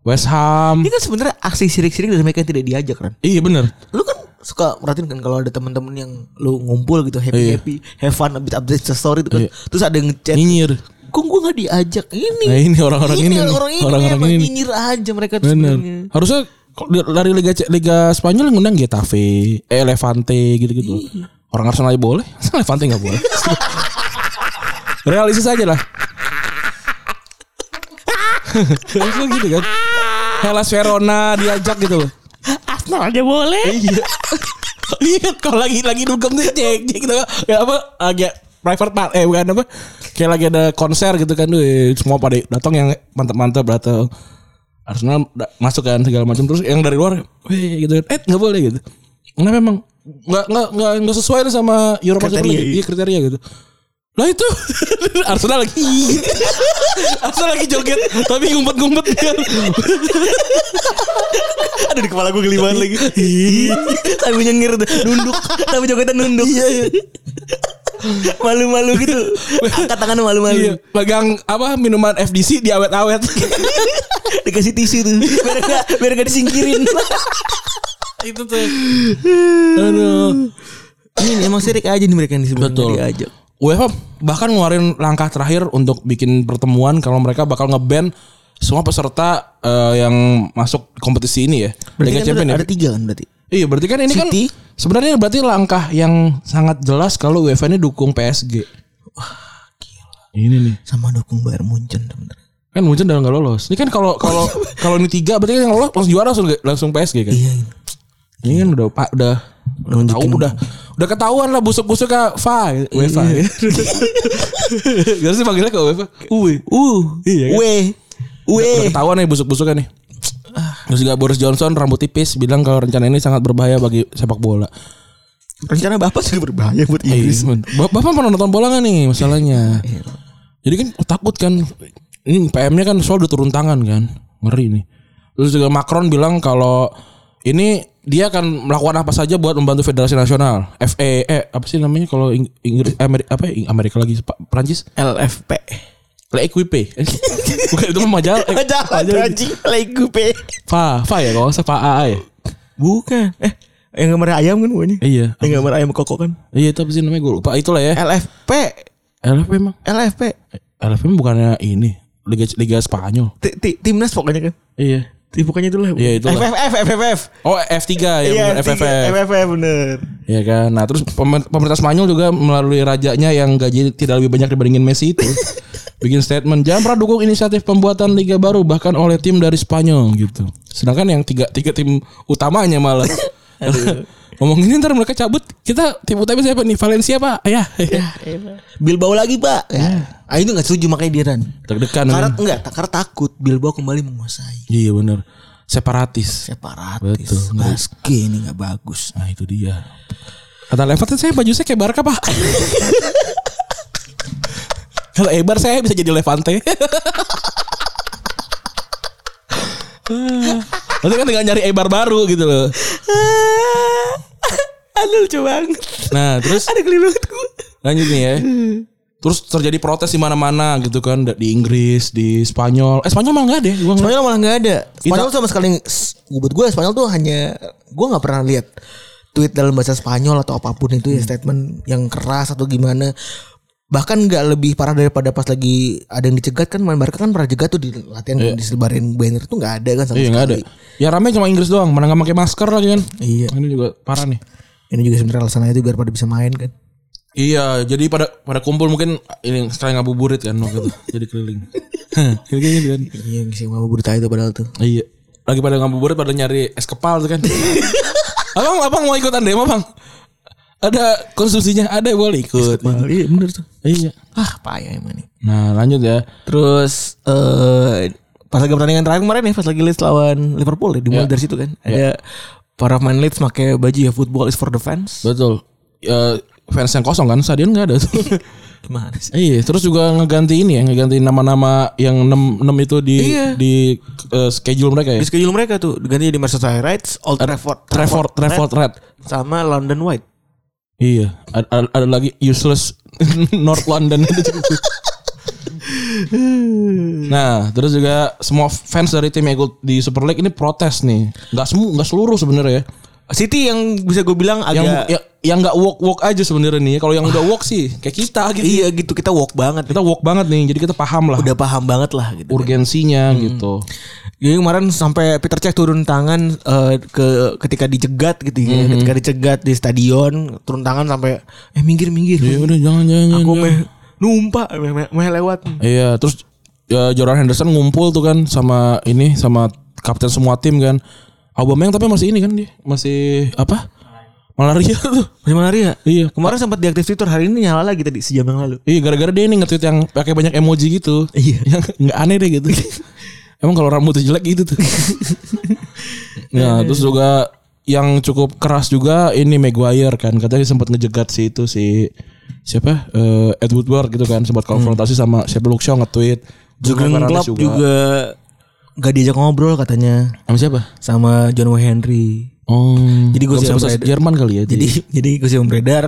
West Ham. Ini kan sebenarnya aksi sirik-sirik dari mereka yang tidak diajak kan. Iya bener. Lu kan suka merhatiin kan kalau ada temen-temen yang lu ngumpul gitu happy happy, Iya. have fun, update update story itu kan. Terus ada yang ngechat, Nyinyir. kok gue nggak diajak ini? Nah, ini orang-orang ini nih. orang-orang ini, Orang-orang emang ini. nyinyir aja mereka tuh sebenarnya. Bener. Harusnya kalau di- dari Liga C- Liga Spanyol yang ngundang Getafe, eh, Levante gitu-gitu. Orang Arsenal aja boleh, Masa Levante nggak boleh. Realistis aja lah. Harusnya gitu kan. Hellas Verona diajak gitu loh. Arsenal Nah, aja boleh. Iya. Iya, kalau lagi lagi dugem tuh cek cek gitu ya apa agak private part eh bukan apa kayak lagi ada konser gitu kan duh, semua pada datang yang mantap-mantap datang Arsenal da- masuk kan segala macam terus yang dari luar weh gitu eh nggak boleh gitu kenapa emang nggak nggak nggak nggak sesuai nih sama Europa Super League iya kriteria gitu lah itu Arsenal lagi Arsenal lagi joget tapi ngumpet-ngumpet kan Aduh di kepala gue geli banget lagi. Tapi nyengir tuh, nunduk, tapi jogetan nunduk. Iya, iya. Malu-malu gitu. Angkat tangan malu-malu. Iya, pegang apa minuman FDC diawet-awet Dikasih tisu tuh. Biar gak, biar gak disingkirin. itu tuh aduh ini emang sirik aja nih mereka yang disebut betul aja. UEFA bahkan ngeluarin langkah terakhir untuk bikin pertemuan kalau mereka bakal ngeban semua peserta eh, yang masuk kompetisi ini ya Berarti kan Champions ada, ya. ada tiga kan berarti. Iya berarti kan ini kan City. sebenarnya berarti langkah yang sangat jelas kalau UEFA ini dukung PSG. Ini nih Sama dukung Bayar Munchen sebenarnya. kan Munchen udah nggak lolos. Ini kan kalau kalau kalau ini tiga berarti kan yang lolos langsung juara langsung, langsung PSG kan. Iya. ini. Ini kan udah pak udah udah tahu udah udah ketahuan lah busuk-busuk ke Fa Iya. UEFA. Gak sih panggilnya ke UEFA. Uwe. Uh, Iya kan? weh, Udah weh. ketahuan nih busuk-busuknya nih. Terus juga Boris Johnson rambut tipis bilang kalau rencana ini sangat berbahaya bagi sepak bola. Rencana bapak juga berbahaya buat Iya. Inggris. Bap- Bapak pernah nonton bola gak nih masalahnya? Jadi kan takut kan. Ini PM-nya kan soal udah turun tangan kan. Ngeri nih. Terus juga Macron bilang kalau ini dia akan melakukan apa saja buat membantu Federasi Nasional. FA eh apa sih namanya kalau Ing- Inggris Ameri- apa ya? Amerika lagi Pa- Prancis? LFP. L'Equipe. Bukan itu mah majalah. Eh, Majalah anjing lagi gue. Fa, Fa ya kalau nggak salah Fa AA ya. Bukan. Eh, yang gambar ayam kan pokoknya. Iya. Yang gambar ayam kokok kan. Iya itu apa sih namanya gue lupa. Itulah ya. LFP. LFP emang. LFP. LFP bukannya ini Liga Liga Spanyol. Ti- ti- Timnas pokoknya kan. Iya. Ti- Pokoknya itulah. Iya, itulah. FFF FFF. Oh F3 ya Iya, bener, FFF. tiga. FFF bener. Iya kan. Nah, terus pemer- pemerintah Spanyol juga melalui rajanya yang gaji tidak lebih banyak dibandingin Messi itu bikin statement jangan pernah dukung inisiatif pembuatan liga baru bahkan oleh tim dari Spanyol gitu. Sedangkan yang tiga tiga tim utamanya malah Ngomong ini ntar mereka cabut Kita tim utama siapa nih Valencia pak Iya. Ayah Bilbao lagi pak. Ya. Ah itu nggak setuju makanya dia Ran. Deg-degan Karena kan? enggak, karena takut Bilbao kembali menguasai. Iya bener Separatis Separatis. Betul. Baske ini nggak bagus. Nah itu dia Kata Lempar saya baju saya kayak Barca pak Kalau Ebar saya bisa jadi Levante Nanti kan tinggal nyari Ebar baru gitu loh Aduh lucu banget. Nah terus Ada kelilingan gue. Lanjut nih ya. Terus terjadi protes di mana-mana gitu kan di Inggris, di Spanyol. Eh Spanyol malah enggak deh. Gua nggak- Spanyol malah nggak ada. Spanyol Itu- sama sekali s- buat gue Spanyol tuh hanya gue nggak pernah lihat tweet dalam bahasa Spanyol atau apapun itu ya statement yang keras atau gimana. Bahkan nggak lebih parah daripada pas lagi ada yang dicegat kan main Barca kan pernah cegat tuh di latihan disebarin banner tuh Iya. nggak ada kan sama Iya enggak ada. sekali. Ya rame cuma Inggris doang, mana enggak pakai masker lagi kan. Iya. Ini juga parah nih. Ini juga sebenarnya alasannya itu biar pada bisa main kan. Iya, jadi pada pada kumpul mungkin ah, ini sekali ngabuburit kan waktu itu. jadi keliling. Kayak gitu kan. Iya sih mau berita itu padahal tuh. Iya. Lagi pada ngabuburit pada nyari es kepal tuh kan. abang, abang mau ikutan demo, Bang? Ada konsumsinya, ada boleh ikut. Iya bener tuh. Iya. Ah payah emang nih. Nah, lanjut ya. Terus eh pas lagi pertandingan terakhir kemarin ya pas lagi Leeds lawan Liverpool ya dimulai Ya. dari situ kan. Ada para pemain Leeds pakai baju ya football is for the fans. Betul. Ya, fans yang kosong kan, stadion enggak ada tuh. Gimana sih? Iya, terus juga ngeganti ini ya, ngeganti nama-nama yang 6 6 itu di Iya. di eh, schedule mereka ya. Di schedule mereka tuh diganti di Merseyside Reds, Old Trafford, Trevor Trevor Red. sama London White. Iya, ada, ada- ada lagi useless North London. nah, terus juga semua fans dari tim yang ikut di Super League ini protes nih. Enggak semua, enggak seluruh sebenarnya ya. City yang bisa gue bilang Yang agak ya- yang enggak walk-walk aja sebenarnya nih. Kalau yang udah walk sih kayak kita gitu. iya gitu kita walk banget. Kita walk banget nih, jadi kita paham lah udah paham banget lah gitu. urgensinya gitu. Jadi kemarin sampai Peter Cech turun tangan eh, ke ketika dicegat gitu ya, ketika dicegat di stadion turun tangan sampai eh minggir minggir. Ya udah jangan jangan. Aku jangan. meh numpak meh, meh, meh lewat. Iya, terus ya, Jordan Henderson ngumpul tuh kan sama ini sama kapten semua tim kan. Aubameyang tapi masih ini kan dia, masih apa? Malaria tuh. Masih malaria. Iya. Kemarin sempat diaktif Twitter hari ini nyala lagi tadi sejam yang lalu. Iya, gara-gara dia ini nge-tweet yang pakai banyak emoji gitu. Iya. Yang nggak aneh deh gitu. Emang kalau rambut jelek gitu tuh. nah, terus juga yang cukup keras juga ini Maguire kan. Katanya sempat ngejegat si itu si siapa? Eh, Ed Woodward gitu kan sempat konfrontasi sama siapa Luke Shaw nge-tweet. Hmm. Jurgen Juga Klopp juga nggak diajak ngobrol katanya sama siapa? sama John Wayne Henry. Oh. Jadi Jadi gue gosip yang bahasa beredar- Jerman kali ya. Jadi jadi gosip yang beredar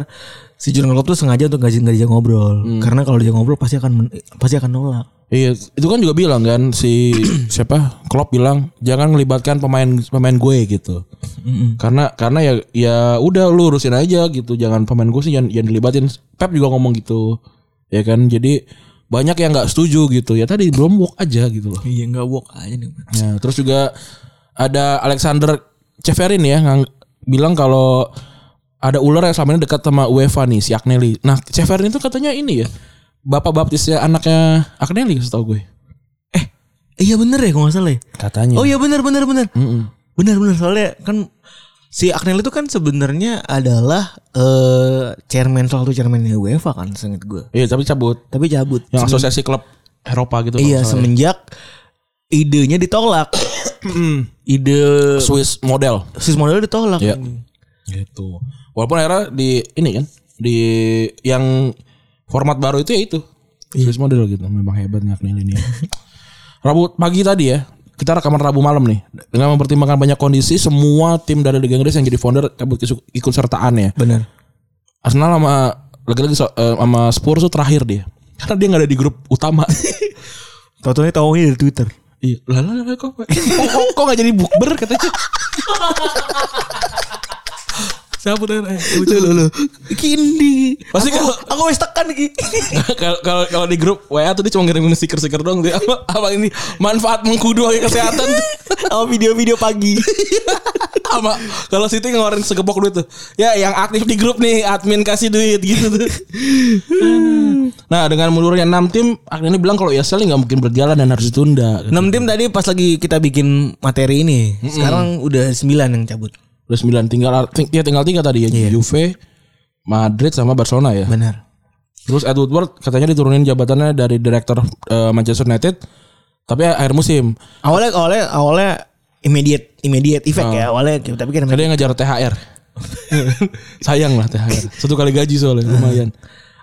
si Jurgen Klopp tuh sengaja untuk nggak nggak diajak ngobrol karena kalau diajak ngobrol pasti akan men- pasti akan nolak. iya, itu kan juga bilang kan si siapa Klopp bilang jangan melibatkan pemain pemain gue gitu. Karena karena ya ya udah lu urusin aja gitu, jangan pemain gue sih jangan, jangan dilibatin. Pep juga ngomong gitu. Ya kan? Jadi banyak yang nggak setuju gitu. Ya tadi belum walk aja gitu loh. Iya nggak walk aja nih. Ya, terus juga ada Alexander Ceferin ya yang bilang kalau ada ular yang selama ini dekat sama UEFA nih si Agnelli. Nah, Ceferin itu katanya ini ya. Bapak baptisnya anaknya Agnelli setahu gue. Iya bener ya kalau nggak salah ya. Katanya. Oh iya bener bener bener. Bener bener soalnya kan si Agnelli itu kan sebenarnya adalah eh chairman salah satu chairmannya UEFA kan seinget gue. Iya, tapi cabut. Tapi cabut. Yang Semen- asosiasi klub Eropa gitu kalau iya nggak salah ya. semenjak idenya ditolak. Ide Swiss model. Swiss model ditolak. Iya. Gitu. Walaupun akhirnya di ini kan di yang format baru itu ya itu. Swiss model gitu. Memang hebatnya Agnelli ini. Rabu pagi tadi ya. Kita rekaman Rabu malam nih. Dengan mempertimbangkan banyak kondisi, semua tim dari Liga Inggris yang jadi founder cabut kesu- ikut sertaan ya. Bener. Arsenal sama lagi-lagi so- eh, sama Spurs tuh terakhir dia. Karena dia nggak ada di grup utama. Tahu-tahu tahunya dari Twitter. Iya, lah lah lah kok kok, kok, kok gak jadi bukber katanya. Siapa tuh? Eh, lucu. Kindi. Pasti kalau Aku wes tekan iki. kalau kalau kalau di grup WA tuh dia cuma ngirim stiker-stiker doang dia apa apa ini manfaat mengkudu bagi kesehatan Sama video-video pagi. sama kalau situ ngeluarin segepok duit tuh ya yang aktif di grup nih admin kasih duit gitu tuh nah dengan mundurnya 6 tim akhirnya bilang kalau ESL nggak mungkin berjalan dan harus ditunda 6 tim tadi pas lagi kita bikin materi ini. Sekarang udah 9 yang cabut. Udah 9 tinggal ting- ya tinggal tiga tadi ya. Juve, Madrid sama Barcelona ya. Benar. Terus Ed Woodward katanya diturunin jabatannya dari direktur eh, Manchester United tapi akhir musim. Awalnya awalnya awalnya immediate immediate effect ya awalnya tapi kan Tadi yang ngejar THR. Sayang lah THR. Satu kali gaji soalnya lumayan.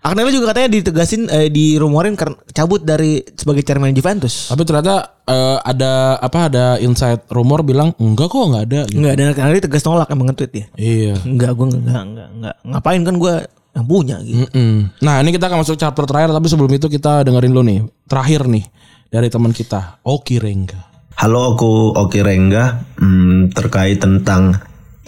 Agnello juga katanya ditegasin eh, dirumorin karena cabut dari sebagai chairman Juventus. Tapi ternyata eh, ada apa ada insight rumor bilang enggak kok enggak ada gitu. Enggak, dan karena dia tegas nolak emang nge-tweet ya. Iya. Enggak, gue enggak, enggak, enggak. Ngapain kan gue yang punya gitu. Mm. Nah ini kita akan masuk chapter terakhir tapi sebelum itu kita dengerin dulu nih terakhir nih dari teman kita Oki Rengga. Halo, aku Oki Rengga. Hmm, terkait tentang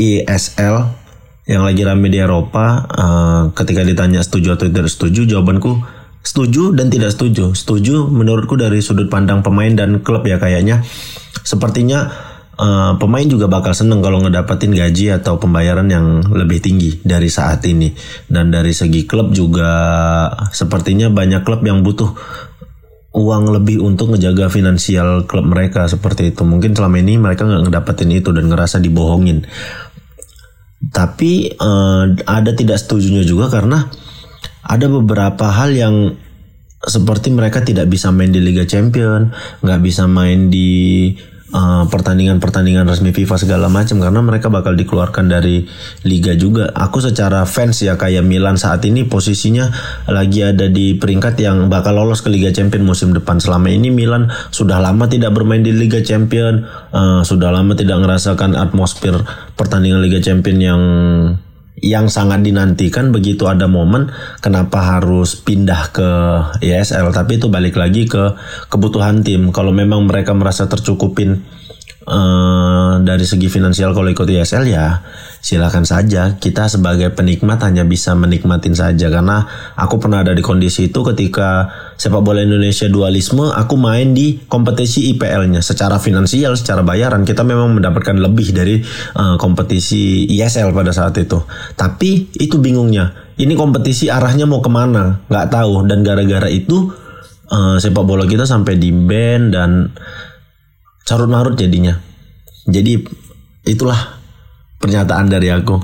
ISL yang lagi rame di Eropa, eh, ketika ditanya setuju atau tidak setuju, jawabanku setuju dan tidak setuju. Setuju menurutku dari sudut pandang pemain dan klub ya kayaknya. Sepertinya eh, pemain juga bakal seneng kalau ngedapetin gaji atau pembayaran yang lebih tinggi dari saat ini. Dan dari segi klub juga sepertinya banyak klub yang butuh uang lebih untuk ngejaga finansial klub mereka seperti itu. Mungkin selama ini mereka nggak ngedapetin itu dan ngerasa dibohongin. Tapi eh, ada tidak setujunya juga karena ada beberapa hal yang seperti mereka tidak bisa main di Liga Champion, nggak bisa main di eh, pertandingan-pertandingan resmi FIFA segala macam karena mereka bakal dikeluarkan dari liga juga. Aku secara fans ya kayak Milan saat ini posisinya lagi ada di peringkat yang bakal lolos ke Liga Champion musim depan. Selama ini Milan sudah lama tidak bermain di Liga Champion, eh, sudah lama tidak ngerasakan atmosfer pertandingan Liga Champion yang yang sangat dinantikan begitu ada momen kenapa harus pindah ke ISL tapi itu balik lagi ke kebutuhan tim kalau memang mereka merasa tercukupin eh, dari segi finansial kalau ikut ISL ya silakan saja kita sebagai penikmat hanya bisa menikmatin saja karena aku pernah ada di kondisi itu ketika sepak bola Indonesia dualisme aku main di kompetisi IPL-nya secara finansial secara bayaran kita memang mendapatkan lebih dari eh, kompetisi ISL pada saat itu tapi itu bingungnya ini kompetisi arahnya mau kemana nggak tahu dan gara-gara itu eh, sepak bola kita sampai di band dan carut marut jadinya. Jadi itulah pernyataan dari aku.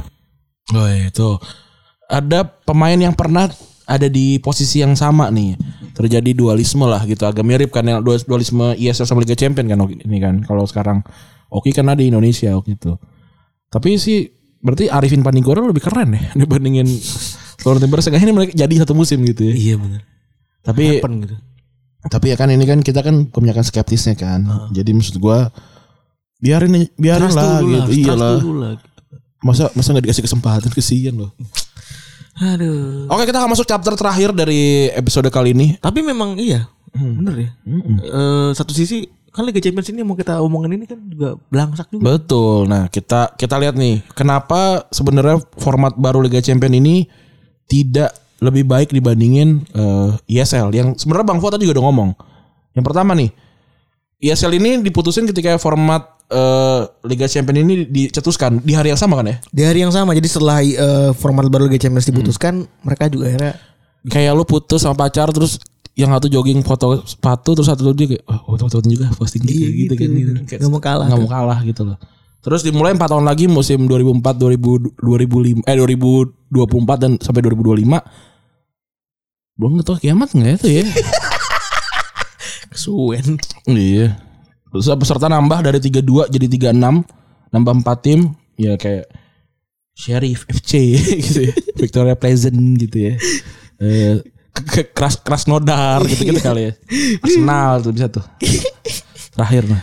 Oh itu ada pemain yang pernah ada di posisi yang sama nih terjadi dualisme lah gitu agak mirip kan yang duas- dualisme ISL sama Liga Champion kan Oki ini kan kalau sekarang Oki karena di Indonesia Oki itu. Tapi sih berarti Arifin Panigora lebih keren ya dibandingin Florentino Perez. Akhirnya mereka jadi satu musim gitu ya. Iya benar. Tapi gitu. tapi ya kan ini kan kita kan kebanyakan skeptisnya kan. Jadi maksud gua biarin Ah. biarin Trust dulu lah, lah gitu. trust Iyalah. dulu lah. Masa masa nggak dikasih kesempatan kesian loh. Aduh. Oke, kita akan masuk chapter terakhir dari episode kali ini. Tapi memang iya, Hmm. bener ya. Eh, satu sisi kan Liga Champions ini yang mau kita omongin ini kan juga belangsak juga. Betul. Nah, kita kita lihat nih, kenapa sebenarnya format baru Liga Champion ini tidak lebih baik dibandingin eh, ISL yang sebenarnya Bang Fuad tadi juga udah ngomong. Yang pertama nih, ISL ini diputusin ketika format eh, Liga Champion ini dicetuskan di hari yang sama kan ya? Di hari yang sama, jadi setelah eh, format baru Liga Champions diputuskan, mereka juga akhirnya Kayak lu putus sama pacar terus yang satu jogging foto sepatu terus satu lagi kayak oh, foto-fotoin juga posting gitu, gitu, kan. Kayak Iya, nggak mau kalah. nggak mau kalah gitu loh. Terus dimulai 4 tahun lagi musim 2004 2000 2005 eh 2024 dan sampai 2025. Belum ngetok kiamat nggak itu ya? Kesuwen. iya. Terus peserta nambah dari 32 jadi 36, nambah 4 tim ya kayak Sheriff FC gitu ya. Victoria Pleasant gitu ya. Eh ke- ke- Kras Krasnodar gitu-gitu kali ya. Arsenal tuh bisa tuh. Terakhir nah.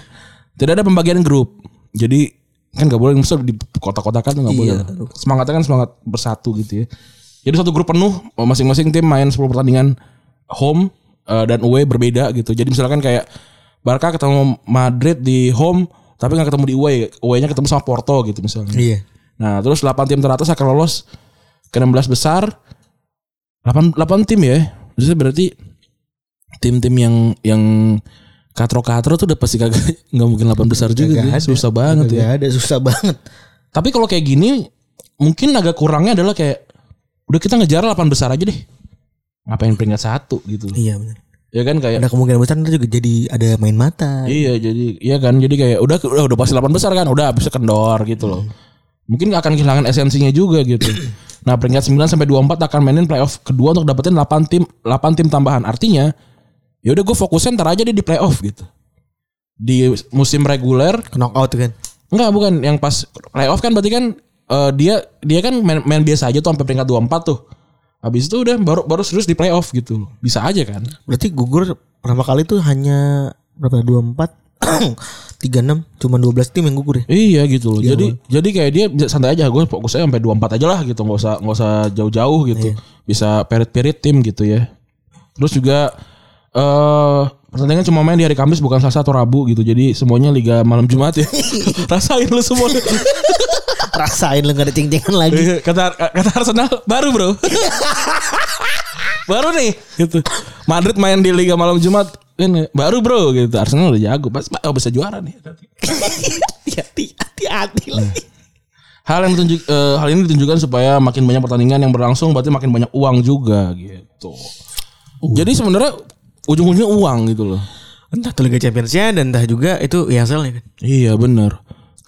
Tidak ada pembagian grup. Jadi kan nggak boleh maksud di kota-kota kan nggak boleh. Semangatnya kan semangat bersatu gitu ya. Jadi satu grup penuh masing-masing tim main 10 pertandingan home eh, dan away berbeda gitu. Jadi misalkan kayak Barca ketemu Madrid di home tapi nggak ketemu di away. Away-nya ketemu sama Porto gitu misalnya. Iya. Nah, terus 8 tim teratas akan lolos ke 16 besar. 8 8 tim ya. Jadi berarti tim-tim yang yang katro-katro tuh udah pasti kagak nggak mungkin 8 besar juga Kagak dia. ada. Susah banget ya. Gak ada susah banget. Tapi kalau kayak gini mungkin agak kurangnya adalah kayak udah kita ngejar 8 besar aja deh. Ngapain peringkat satu gitu. Iya benar. Ya kan kayak Ada kemungkinan besar nanti juga jadi ada main mata. Iya jadi iya kan jadi kayak udah udah, udah pasti 8 besar kan udah bisa kendor gitu loh. mungkin akan kehilangan esensinya juga gitu. Nah, peringkat 9 sampai 24 akan mainin playoff kedua untuk dapetin 8 tim 8 tim tambahan. Artinya, ya udah gue fokusnya ntar aja deh di playoff gitu. Di musim reguler knockout kan. Enggak bukan yang pas playoff kan berarti kan eh, dia dia kan main, main biasa aja tuh sampai peringkat 24 tuh. Habis itu udah baru baru serius di playoff gitu. Bisa aja kan. Berarti gugur pertama kali tuh hanya berapa 24 36 cuma 12 tim yang gugur ya. Iya gitu loh. jadi jadi kayak dia bisa santai aja gue fokusnya sampai 24 aja lah gitu. nggak usah nggak usah jauh-jauh gitu. Bisa perit-perit tim gitu ya. Terus juga eh pertandingan cuma main di hari Kamis bukan Selasa atau Rabu gitu. Jadi semuanya liga malam Jumat ya. Rasain lu semua. Rasain lu gak ada ceng-cengan lagi. Iya, kata kata Arsenal baru bro baru nih gitu Madrid main di Liga malam Jumat ini baru bro gitu Arsenal udah jago pas oh, bisa juara nih Hati-hati hati-hati lagi. hal yang ditunjuk eh, hal ini ditunjukkan supaya makin banyak pertandingan yang berlangsung berarti makin banyak uang juga gitu jadi sebenarnya ujung-ujungnya uang gitu loh Entah tuh Liga Championsnya dan entah juga itu ESL-nya kan. Iya bener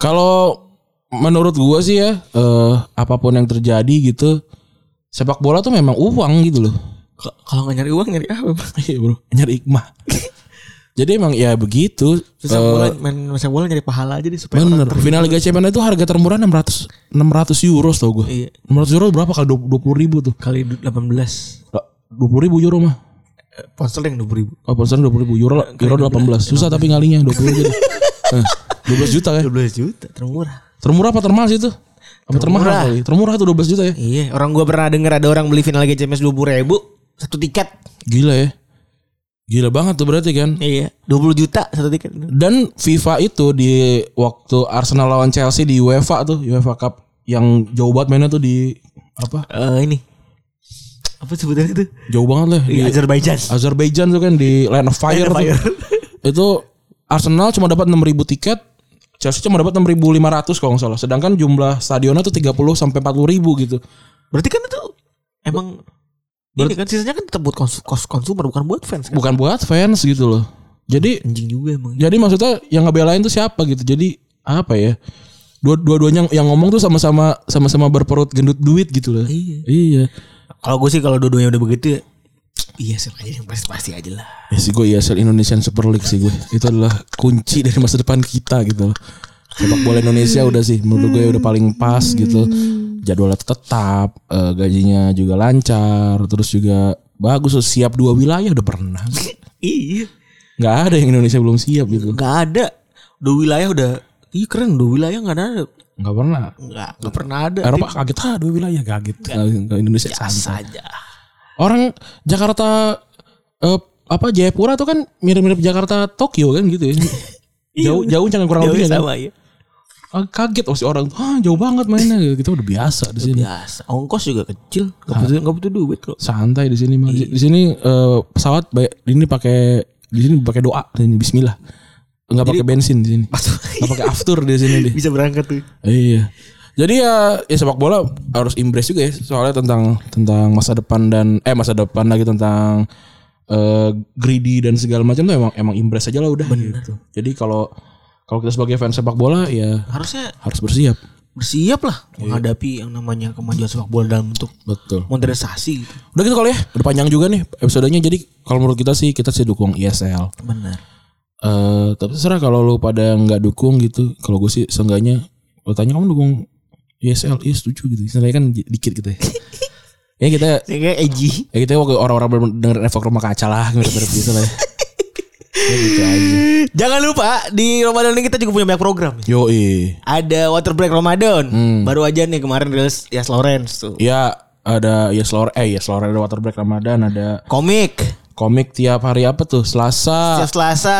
Kalau menurut gua sih ya eh, apapun yang terjadi gitu sepak bola tuh memang uang gitu loh. K- Kalau nggak nyari uang nyari apa? Bang? Iya bro, nyari hikmah. Jadi emang ya begitu. Sepak Eh, bola main sepak bola nyari pahala aja deh supaya bener. orang ter- Final Liga Champions itu harga termurah 600 600 euro tau gue. Iya. 600 euro berapa kali 20 ribu tuh? kali du- 18 20 ribu euro mah. Eh, ponsel yang 20 ribu. Oh, ponsel 20 ribu euro, euro 18. Susah tapi ngalinya 20 gitu. Nah, 12 juta ya. 12 Eh, juta termurah. Termurah apa termahal sih itu? Apa termahal kali? Termurah itu 12 juta ya. Iya, orang gua pernah denger ada orang beli final Liga Champions 20 ribu satu tiket. Gila ya. Gila banget tuh berarti kan. Iya, 20 juta satu tiket. Dan FIFA itu di waktu Arsenal lawan Chelsea di UEFA tuh, UEFA Cup yang jauh banget mainnya tuh di apa? Eh ini apa sebutannya itu? Jauh banget lah di Di Azerbaijan. Azerbaijan tuh kan di Line of Fire, Line of tuh. Fire. itu Arsenal cuma dapat 6.000 tiket, Chelsea cuma dapat 6.500 kalau nggak salah. Sedangkan jumlah stadionnya tuh 30 sampai 40.000 gitu. Berarti kan itu emang ini kan sisanya kan tetap buat kons kos- konsumer bukan buat fans kan. Bukan buat fans gitu loh. Jadi Anjing juga emang. jadi maksudnya yang ngebelain tuh siapa gitu. Jadi apa ya? Dua- Dua-duanya yang ngomong tuh sama-sama sama-sama berperut gendut duit gitu loh. Iya. Iya. Kalau gue sih kalau dua-duanya udah begitu ya Iya sih aja yang pasti pasti aja lah. Ya sih gue ESL Indonesian Super League sih gue. Itu adalah kunci dari masa depan kita gitu loh. Sepak bola Indonesia udah sih menurut gue udah paling pas gitu. Hmm. Jadwalnya tetap, eh, gajinya juga lancar, terus juga bagus loh, siap dua wilayah udah pernah. Iya. Nggak ada yang Indonesia belum siap gitu. Gak ada. Dua wilayah udah Iya keren dua wilayah gak ada Nggak pernah. Gak, gak pernah ada Eropa kaget ah dua wilayah kaget. Nggak, Indonesia santai. saja Orang Jakarta eh, apa Jayapura tuh kan mirip-mirip Jakarta Tokyo kan gitu ya. Jauh jauh jangan kurang Iya. Jauhnya lebih kan. sama ya Ah, kaget oh si orang ah jauh banget mainnya gitu. kita udah biasa di sini Biasa Ongkos juga kecil Gak butuh, gak butuh duit kok santai di sini mah. di di sini eh, pesawat bay- ini pakai di sini pakai doa di sini Bismillah nggak pakai bensin di sini nggak pakai aftur di sini deh Bisa berangkat tuh iya jadi ya, ya sepak bola harus impress juga ya soalnya tentang tentang masa depan dan eh masa depan lagi tentang eh, greedy dan segala macam tuh emang emang impress aja lah udah gitu. Jadi kalau kalau kita sebagai fans sepak bola ya Harusnya harus bersiap. bersiap lah Menghadapi yang namanya kemajuan sepak bola dalam bentuk Betul. Modernisasi gitu Udah gitu kali ya, udah panjang juga nih episodenya. Jadi kalau menurut kita sih kita sih dukung ISL. Bener Eh tapi serah kalau lu pada nggak dukung gitu, kalau gue sih seenggaknya lu tanya kamu dukung ISL, iya setuju gitu. Seenggaknya kan di- dikit gitu ya. ya kita Kayak edgy ya kita waktu orang-orang ber- dengerin efek rumah kaca lah mirip-mirip gitu lah. Ya. Ya gitu aja. Jangan lupa Di Ramadan ini kita juga punya banyak program Yo eh. Ada Water Break Ramadan Baru aja nih kemarin rilis Yas Lawrence tuh Ya ada Yes Lore, eh Yes Lore ada Water Break Ramadan, ada Komik komik tiap hari apa tuh? Selasa, Setiap Selasa, Ah.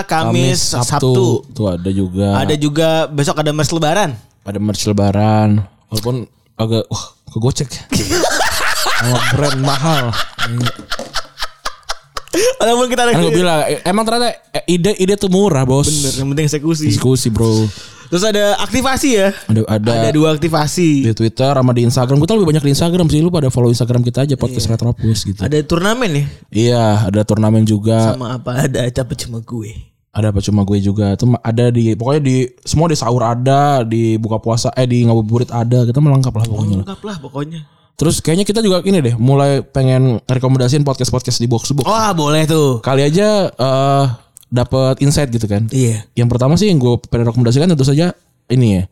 Kamis, Kamis, Sabtu. Ah. Sabtu. Tuh ada juga. Ada juga besok ada merch lebaran. pada merch lebaran walaupun agak wah kegocek sama brand mahal Walaupun kita ada kan gue bilang emang ternyata eh, ide ide tuh murah bos Bener, yang penting eksekusi. diskusi bro Terus ada aktivasi ya. Gitu. ada ada, Ada dua di aktivasi. Twitter sama di Instagram kita lebih banyak di Instagram sih lu pada follow Instagram kita aja podcast Retropus gitu Ada turnamen ya Ah. iya ada turnamen juga sama apa ada capek cuma gue. ada apa cuma gue juga itu ma- ada di pokoknya di semua di sahur ada di buka puasa eh di ngabuburit ada kita melengkap lah pokoknya lah. Lengkap lah pokoknya. terus kayaknya kita juga ini deh mulai pengen rekomendasiin podcast podcast di box to box Wah boleh tuh. kali aja eh dapat insight gitu kan Iya. yang pertama sih yang gue pengen rekomendasikan tentu saja ini ya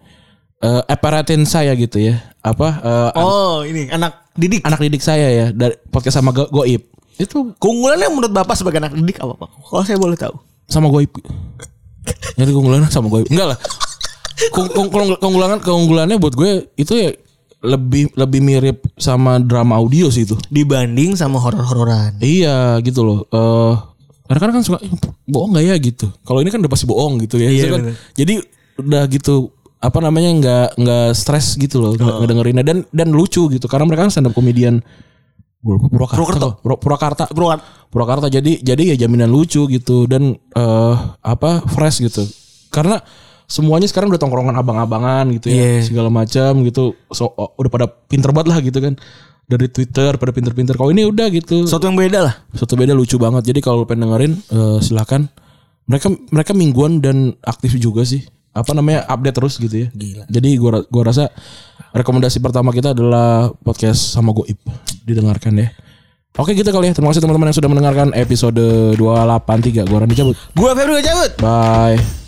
eh aparatin saya gitu ya apa eh, an- Oh ini anak didik. anak didik saya ya dari podcast sama Go- goib itu Keunggulannya menurut bapak sebagai anak didik apa pak? Kalau saya boleh tahu. sama goib jadi keunggulan sama goib enggak lah Keung- keung- keung- keunggulan keunggulannya buat gue itu ya lebih lebih mirip sama drama audio sih itu Dibanding sama horor-hororan. iya gitu loh eh karena kan suka "Ih, bohong nggak ya gitu kalau ini kan udah pasti bohong gitu ya Iya, Jadi kan- bener. jadi udah gitu apa namanya nggak nggak stres gitu loh nggak ngedengerinnya dan dan lucu gitu karena mereka kan stand up komedian Gue lupa Purwakarta Purwokerto. Pur- Purwakarta Bro, Purwakarta jadi jadi ya jaminan lucu gitu dan eh apa fresh gitu karena semuanya sekarang udah tongkrongan abang-abangan gitu ya Iya. segala macam gitu so oh, udah pada pinter banget lah gitu kan dari Twitter pada pinter-pinter kalau ini udah gitu Suatu yang beda lah. satu beda lucu banget jadi kalau lu pengen dengerin eh, silakan mereka mereka mingguan dan aktif juga sih apa namanya update terus gitu ya Gila. jadi gua ra- gua rasa rekomendasi pertama kita adalah podcast sama Goib didengarkan ya oke gitu kali ya terima kasih teman-teman yang sudah mendengarkan episode 283 gua Randy cabut Gua Febri cabut. bye